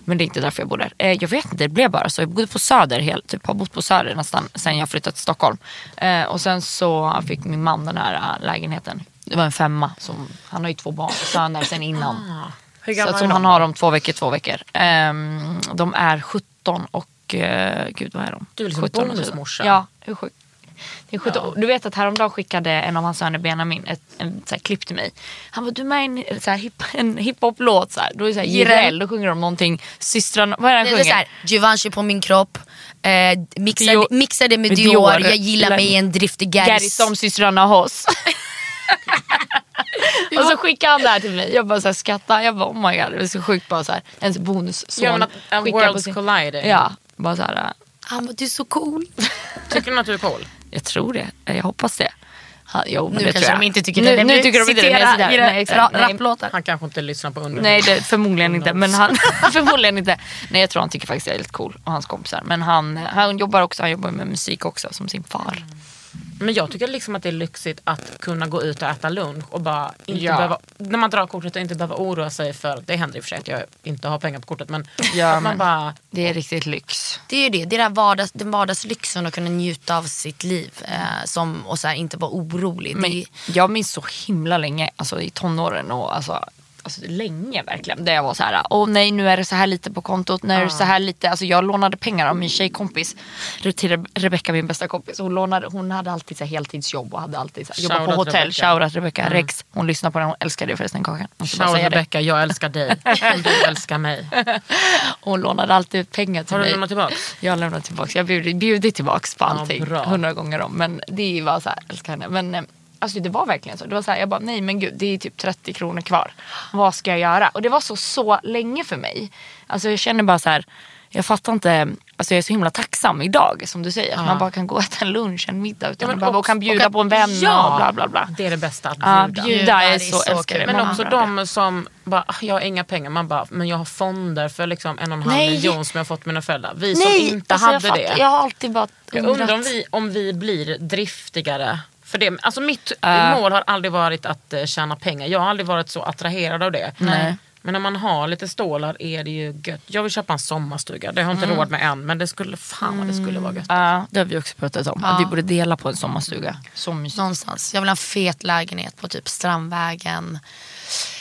Men det är inte därför jag bor där. Eh, jag vet inte, det blev bara så. Jag bodde på Söder, helt, typ, har bott på Söder nästan sen jag flyttade till Stockholm. Eh, och sen så fick min man den här eh, lägenheten. Det var en femma. Som, han har ju två barn, söner sen innan.
Ah, Hur
Så
gammal
att
är
som
de?
han har om två veckor, två veckor. Ehm, de är 17 och eh, gud vad är de?
Du är liksom
17 och
bonusmorsa.
Ja, hur sjukt. Det är sjukt. Och Du vet att häromdagen skickade en av hans söner Benjamin ett en, så här, klipp till mig. Han bara, du är med i en, så här, hip, en hiphop-låt. Så här. Då är det så här, Jireel, då sjunger de någonting. Systrarna, vad är det han
det är så
sjunger?
här, Givenchy på min kropp, eh, mixade,
Dior-
mixade med
med
Dior,
Dior.
jag gillar mig i en driftig
Gary
garis.
som systrarna Hoss. Och så skickade han det här till mig. Jag bara så här, skrattade. Jag bara oh my god. Det var så sjukt bara så här. Ens bonusson
Ja, men att- att
skickar
worlds colliding.
Ja, bara så här.
Han bara, Ah, du är så cool.
Tycker du att du är cool?
Jag tror det. Jag hoppas det. Han, jo, men
Nu
det
kanske
tror jag.
de inte tycker det.
nu,
Nej,
Nu
men
tycker de inte det.
citera
Nej, sådär.
era
Nej, exakt.
ra-
Nej.
rapplåtar.
Han kanske inte lyssnar på underhållning.
Nej, det, förmodligen inte. Men han, förmodligen inte. Nej, jag tror han tycker faktiskt jag är lite cool och hans kompisar. Men han, han jobbar också han jobbar med musik också som sin far.
Men jag tycker liksom att det är lyxigt att kunna gå ut och äta lunch och bara inte
Ja.
behöva, när man drar kortet och inte behöva oroa sig för, det händer i och för sig att jag inte har pengar på kortet men
Ja,
att man
men-
bara,
Det är riktigt lyx.
Det är ju det, det är där vardags, den vardagslyxen att kunna njuta av sitt liv eh, som, och så här, inte vara orolig. det,
Men
är-
jag minns så himla länge, alltså i tonåren och alltså, alltså länge verkligen. Där jag var så här, åh nej nu är det så här lite på kontot, nu är det så här lite. Alltså jag lånade pengar av min tjejkompis Re- till Re- Rebecca, min bästa kompis. Hon, lånade, hon hade alltid så här heltidsjobb och hade alltid så här, jobbade på
Shoutout
hotell.
Rebecca.
Shoutout Rebecca, Rex. Hon lyssnar på den, hon älskar dig förresten Kakan. Måste bara
ciao
säga det.
Rebecca jag älskar dig, du älskar mig.
Hon lånade alltid ut pengar till
Har du
mig.
lämnat tillbaks?
Jag har lämnat tillbaka. Jag har bjudit, bjudit tillbaka på allting.
bra.
Hundra gånger om. Men det var så här, jag älskar henne. Men eh, alltså, det var verkligen så. Det var så här, jag bara, nej men gud det är typ 30 kronor kvar. Vad ska jag göra? Och det var så, så länge för mig. Alltså jag känner bara så här, jag fattar inte. Alltså jag är så himla tacksam idag som du säger. Att man bara kan gå och äta en lunch, en middag utan
men
att behöva, och
också-
kan bjuda
och att-
på en vän
ja,
och bla bla bla.
Det är det bästa att
Ja,
bjuda.
bjuda
det
är
är
så,
så
älskar
kul.
det.
Men
Många
också
andra.
de som bara, "Ah, jag har inga pengar. Man bara, men jag har fonder för liksom en och en halv
Nej.
miljon som jag har fått mina föräldrar. Vi
Nej,
som inte
alltså,
hade
jag
det.
fattar. Jag har alltid bara
Jag undrar om vi, om vi blir driftigare. För det, alltså mitt
Äh.
mål har aldrig varit att eh, tjäna pengar. Jag har aldrig varit så attraherad av det.
Nej.
Men när man har lite stålar är det ju gött. Jag vill köpa en sommarstuga. Det har jag inte råd med än men det skulle, fan vad det skulle vara gött.
Mm. Ja, det har vi också pratat om. Att vi borde dela på en sommarstuga. Så mysigt.
någonstans. Jag vill ha en fet lägenhet på typ Strandvägen.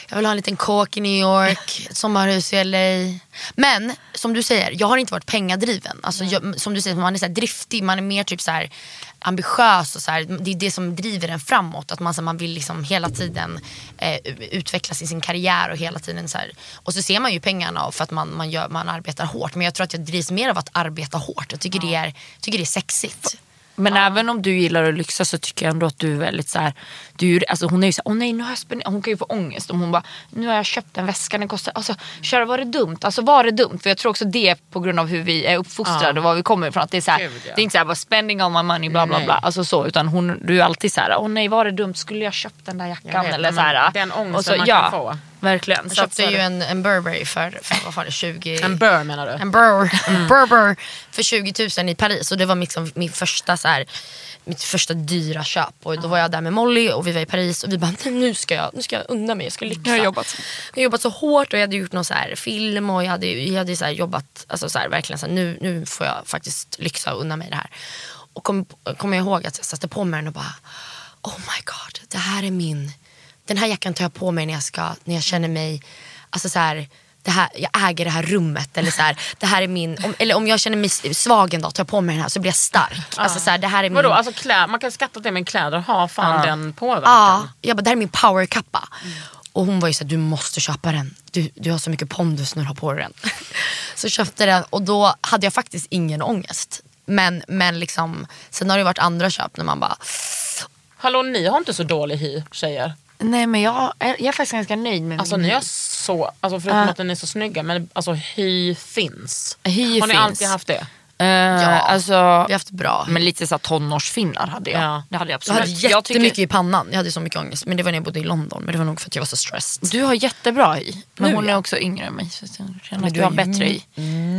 Jag vill ha en liten kåk i New York, ett sommarhus i LA. Men som du säger, jag har inte varit pengadriven. Alltså, jag, som du säger, man är så här driftig, man är mer typ så här ambitiös. Och så här. Det är det som driver en framåt. Att man, så här, man vill liksom hela tiden eh, utvecklas i sin karriär. Och hela tiden så här. Och så ser man ju pengarna för att man, man, gör, man arbetar hårt. Men jag tror att jag drivs mer av att arbeta hårt. Jag tycker, det, är, tycker det är sexigt.
Men även om du gillar att lyxa så tycker jag ändå att du är väldigt så här, du, är- alltså hon är ju såhär, åh nej nu har jag spänn-" hon kan ju få ångest om hon bara, nu har jag köpt en väska, den kostar, alltså köra var det dumt? Alltså var det dumt? För jag tror också det är på grund av hur vi är uppfostrade och var vi kommer ifrån. Att det, är så här,
Gud, ja.
det är inte såhär bara spending all my money bla bla
Nej.
bla. Alltså så, utan hon, du är alltid såhär, åh nej var det dumt, skulle jag köpt den där jackan?
vet,
Eller
men
så här,
den ångesten
och så,
man kan
ja,
få.
Verkligen.
Jag
Så att-
köpte ju en, en Burberry för, för vad var det, 20...
En bör menar du?
en Burberry,
Mm.
en Burberry för 20 000 i Paris. Och det var liksom min första, så här, mitt första dyra köp. Och då var jag där med Molly och vi var i Paris och vi bara, "Nej, nu ska jag, nu ska jag unna mig, jag ska lyxa.
Jag har jobbat.
Jag har jobbat så hårt och jag hade gjort någon så här film och jag hade, jag hade så här jobbat, alltså så här, verkligen så här, nu, nu får jag faktiskt lyxa och unna mig det här. Och kommer kom jag ihåg att jag satte på mig den och bara, oh my god, det här är min, den här jackan tar jag på mig när jag, ska, när jag känner mig, alltså så här, det här, jag äger det här rummet. Eller, så här, det här är min, om, eller om jag känner mig svag en dag, tar jag på mig den här så blir jag stark. Alltså, så här, det här är min,
Mm.
Vadå, alltså klä, man kan skatta det men kläder har fan den påverkan.
Ja, jag bara, det här är min powerkappa. Och hon var ju såhär, du måste köpa den. Du, du har så mycket pondus när du har på dig den. så köpte jag den och då hade jag faktiskt ingen ångest. Men, men liksom, sen har det varit andra köp när man bara,
Hallå ni har inte så dålig hy tjejer.
nej men jag, är- jag är faktiskt ganska nöjd med
Alltså
min-
ni har så, alltså förutom
Ah.
att ni är så snygga men alltså hy finns.
Hy
har ni
finns.
alltid haft det?
Eh, alltså,
vi har haft bra.
Men lite så här tonårsfinnar hade jag.
Ja.
Det hade jag
jag
absolut.
hade
jag
jättemycket
tycker-
i pannan, jag hade så mycket ångest. Men det var när jag bodde i London, men det var nog för att jag var så stressed.
Du har jättebra i. Men
Nu,
hon är
ja.
också yngre än mig. Så jag känner att du har
ju-
bättre i.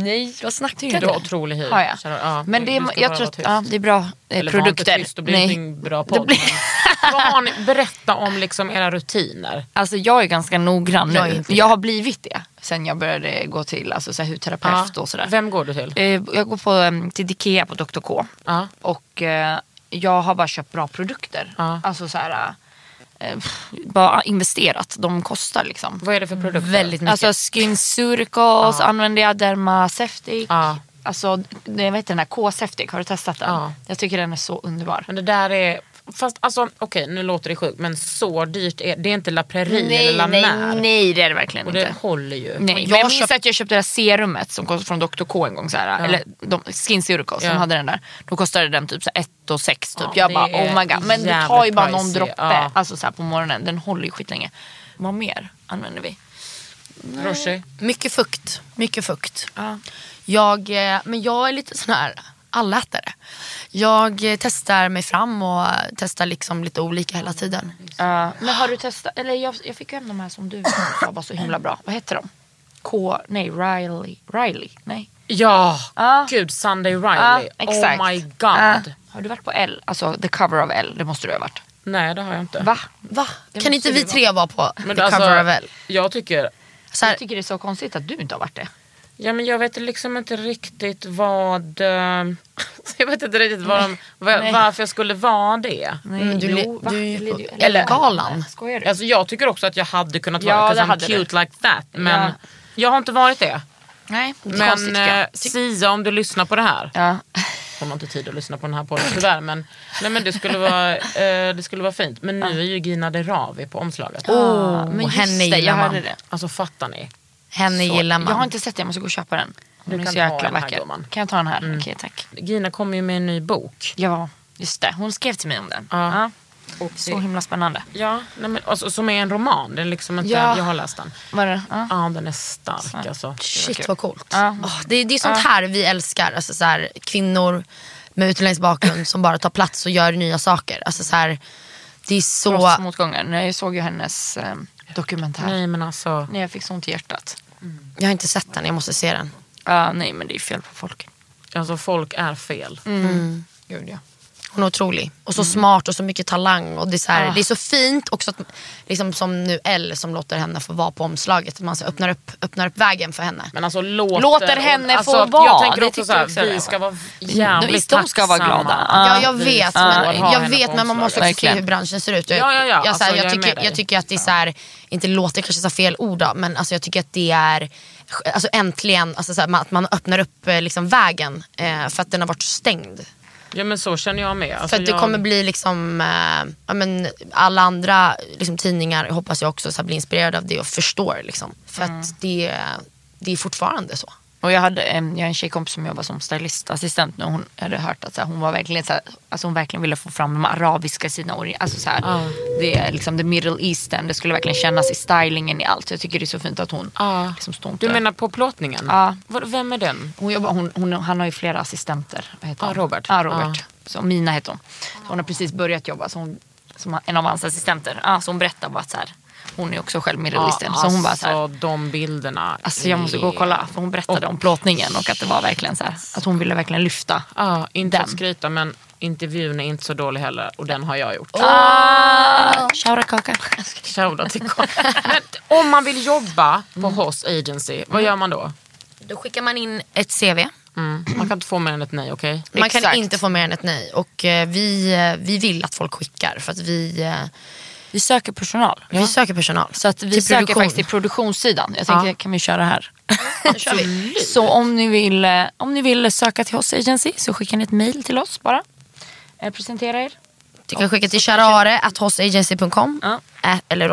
Nej, vad snackar
Tycker
Du har otrolig hy.
Har jag.
Känner- ja,
men det
du
är,
ska bara
jag tror
vara
att
tyst.
ja, det är bra eh,
Eller var inte
produkter.
tyst, då blir det
Nej.
ingen bra
Det
podd.
blir-
Vad har ni, berätta om liksom era rutiner.
Alltså jag är ganska noggrann nu.
Jag är
Jag,
inte
har blivit det sen jag började gå till alltså, så här, hudterapeut och sådär.
Vem går du till?
Eh, Jag går på, eh, till Ikea på Dr. K.
Ja.
Och eh, jag har bara köpt bra produkter.
Ja.
Alltså så här, eh, pff, bara investerat. De kostar liksom.
Vad är det för produkter?
Väldigt mycket.
Alltså Skin Suricals använder jag, Dermaceutic.
Ja.
Alltså, jag vet den här K-Seftic, har du testat den?
Ja.
Jag tycker den är så underbar.
Men det där är, fast alltså okej nu låter det sjukt men så dyrt är det, är inte La Prairie eller La Mer.
nej, nej det är det verkligen
Och
inte.
det håller ju.
Nej, men
jag
jag minns
köpt-
att jag köpte det här serumet som kom från Dr. K en gång. Så här, Eller de, Skin Circle som
Ja.
hade den där. Då kostade den typ 1 och 6 typ.
Ja,
jag
det
bara
är
oh my god. Men du
jävligt
tar ju bara någon
pricey,
droppe
ja.
alltså, så här, på morgonen. Den håller ju skitlänge. Vad mer använder vi?
Roshi.
Mycket fukt, mycket fukt.
Ja.
Jag, eh, men jag är lite sån här, allätare. Jag eh, testar mig fram och eh, testar liksom lite olika hela tiden.
Ja, men har du testat, eller jag, jag fick ju hem de här som du sa var så himla bra. Vad heter de? K, nej Riley, Riley, nej.
Ja,
Ja.
gud Sunday
Ja,
Riley.
exakt.
Oh my god.
Ja. har du varit på L? Alltså the cover of L, det måste du ha varit.
Nej det har jag inte.
Va?
Va? Kan
måste
inte
du
vi tre vara på
Men
the
alltså,
cover of L?
Jag tycker,
Så här,
Jag tycker det är så konstigt att du inte har varit det.
ja men jag vet liksom inte riktigt vad, eh, jag vet inte riktigt vad de, va-
Nej.
varför jag skulle vara det.
Nej,
Mm, du
jo,
le-
va?
du är ju
Eller
på
du-
Ellegalan.
Skojar du?
Alltså jag tycker också att jag hade kunnat
Ja,
vara det,
det
'cause I'm
hade du.
cute like that. Men
Ja.
jag har inte varit det.
nej, det är konstigt
Men
tycker jag.
eh, Sia om du lyssnar på det här.
Ja.
Hon har inte tid att lyssna på den här podden tyvärr. Men, nej, men det, skulle vara, eh, det skulle vara fint. Men nu är ju Gina De Ravi på omslaget.
Oh, men just
henne
det, jag
gillar man.
hörde det.
Alltså fattar ni?
henne gillar man.
Jag har inte sett det, jag måste gå och köpa den. Den är
kan ta
så jäkla
den här,
vacker.
gumman.
Kan jag ta den här? Okej tack.
Gina kom ju med en ny bok.
Ja, just det. Hon skrev till mig om den.
Ja.
Ja.
Och
Så himla spännande.
ja, nej, men, alltså, som är en roman. Den är liksom inte,
Ja.
Jag har läst den.
Var det? Ja.
Ja, den är stark alltså.
Shit
kul.
vad coolt.
Ja.
Åh, det, det är sånt här vi älskar. Alltså, så här, kvinnor med utländsk bakgrund som bara tar plats och gör nya saker. Alltså, så här, det är så...
Trots motgången. Jag såg ju hennes eh, dokumentär. Nej.
Nej men alltså.
jag fick så ont i hjärtat.
Jag har inte sett den, jag måste se den.
Ja, nej men det är fel på folk.
alltså folk är fel.
Mm. Gud ja.
Hon är otrolig. Och
Mm.
så smart och så mycket talang. Och det, är så
Ah.
här, det är så fint också att, liksom som nu L som låter henne få vara på omslaget. Att man så här, öppnar, upp, öppnar upp vägen för henne.
Men alltså låter,
Låter henne
alltså,
få vara.
Jag tänker
Det
också
tycker
så här,
jag också
vi
det. Mm.
ska vara jävligt
Visst, de ska vara
tacksamma.
glada.
Ja, jag
vi
vet,
får
ha
men, jag
henne på
vet, men man måste också
omslaget.
se
Verkligen.
hur branschen ser ut. Och
Ja, ja, ja.
Jag, så här,
Alltså, jag
jag,
är med
tycker,
dig.
jag tycker att det är så här, inte låter kanske så fel ord då, men alltså, jag tycker att det är alltså, äntligen alltså, så här, man- att man öppnar upp eh, liksom, vägen eh, för att den har varit stängd.
Ja men så känner jag med. Alltså,
för att det
jag,
kommer bli liksom, eh, ja, men, alla andra liksom, tidningar hoppas jag också så här, blir inspirerade av det och förstår. Liksom, för
Mm.
att det, det är fortfarande så.
Och jag, hade, em, jag har en tjejkompis som jobbar som stylistassistent nu. Hon hade hört att så här, hon, var verkligen, så här, alltså hon verkligen ville få fram de arabiska sidorna. och- Alltså så här, Det är liksom the middle eastern. Det skulle verkligen kännas i stylingen i allt. Jag tycker det är så fint att hon
Ja.
liksom står inte-
Du menar på plåtningen?
Ja.
Vad- Vem är den?
Hon jobbar, hon, hon, han har ju flera assistenter. Vad heter
Ja,
han?
Robert.
Ja, Robert. Så Mina heter hon. Så hon har precis börjat jobba så hon, som en av hans assistenter. Ja, så hon berättar bara att så här, hon är också själv Middle Eastern. så hon bara så här,
alltså de bilderna.
alltså jag måste gå och kolla. För hon berättade om plåtningen och att det var verkligen så här, att hon ville verkligen lyfta.
Ja, inte
Den.
att skryta men intervjun är inte så dålig heller och den har jag gjort.
Shoura Kakan.
Shoutout till Karin. Men om man vill jobba på
Mm.
Hoss Agency, vad gör man då?
Då skickar man in ett CV.
Mm. Man kan inte få mer än ett nej, okej?
Man kan
Exakt.
inte få mer än ett nej. Och eh, vi, eh, vi vill att folk skickar för att vi, eh,
Vi söker personal.
vi söker personal.
Så att vi
till
söker
produktion.
faktiskt till produktionssidan. Jag tänker,
Ja.
kan vi köra här?
kör vi.
Så om ni, vill, eh, om ni vill söka till oss agency så skicka ni ett mail till oss bara. Eh, presentera er.
Du kan skicka till charare.hossagency.com
Ja.
eh, eller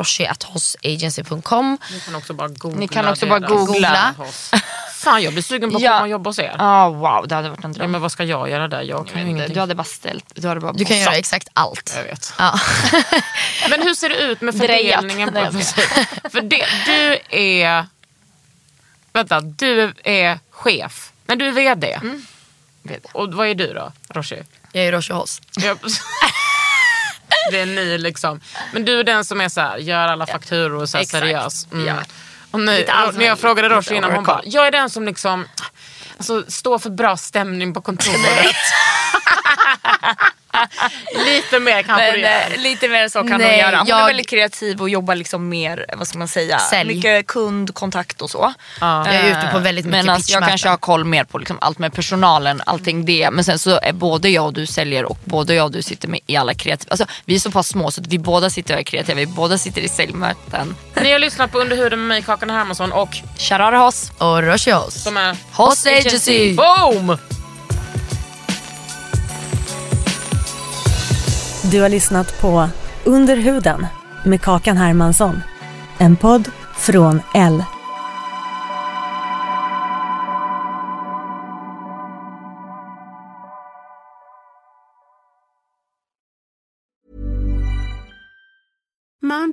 roshi.hossagency.com.
Ni kan också bara googla.
Ni kan också bara
deras-
googla.
Hoss. Fan jag blir sugen på att
Ja.
komma och jobba hos er.
Ah, wow, det hade varit en
Ja,
dröm.
men vad ska jag göra där? Jag kan ju ingenting.
du hade bara ställt, du hade bara
Du kan göra
bossat.
exakt allt.
Jag vet.
Ja.
Men hur ser det ut med
Drejat.
fördelningen? På,
Nej, jag
för det, du är... Vänta, du är chef. Nej, du är vd.
VD.
Och vad är du då, Roshi?
Jag är Roshi Hoss.
Jag- det är ni liksom. Men du är den som är så här, gör alla fakturor och så här
Exakt.
seriös.
Ja.
Och nu,
Lite allt
när jag
möjligt.
frågade Roshi
Lite
innan, hon
overcome.
bara, jag är den som liksom alltså, står för bra stämning på kontoret. Lite mer kanske
Men
du gör.
eh, lite mer så kan
Nej,
hon göra. Hon är
jag-
väldigt kreativ och jobbar liksom mer, vad ska man säga,
Sälj.
mycket kundkontakt och så.
Ja.
Jag är ute på
Eh,
väldigt mycket
Men alltså, jag
pitchmöten.
kanske har koll mer på liksom allt med personalen, allting det. Men sen så är både jag och du säljer och både jag och du sitter med i alla kreativa, alltså vi är så pass små så att vi båda sitter och är kreativa, vi båda sitter i säljmöten.
Ni har lyssnat på Under huden med mig, Kakan Hermansson och
Charade Hoss!
Och Roshi Hoss.
som är...
Hoss Agency!
Boom!
Du har lyssnat på Under huden med Kakan Hermansson. En podd från L.
Mom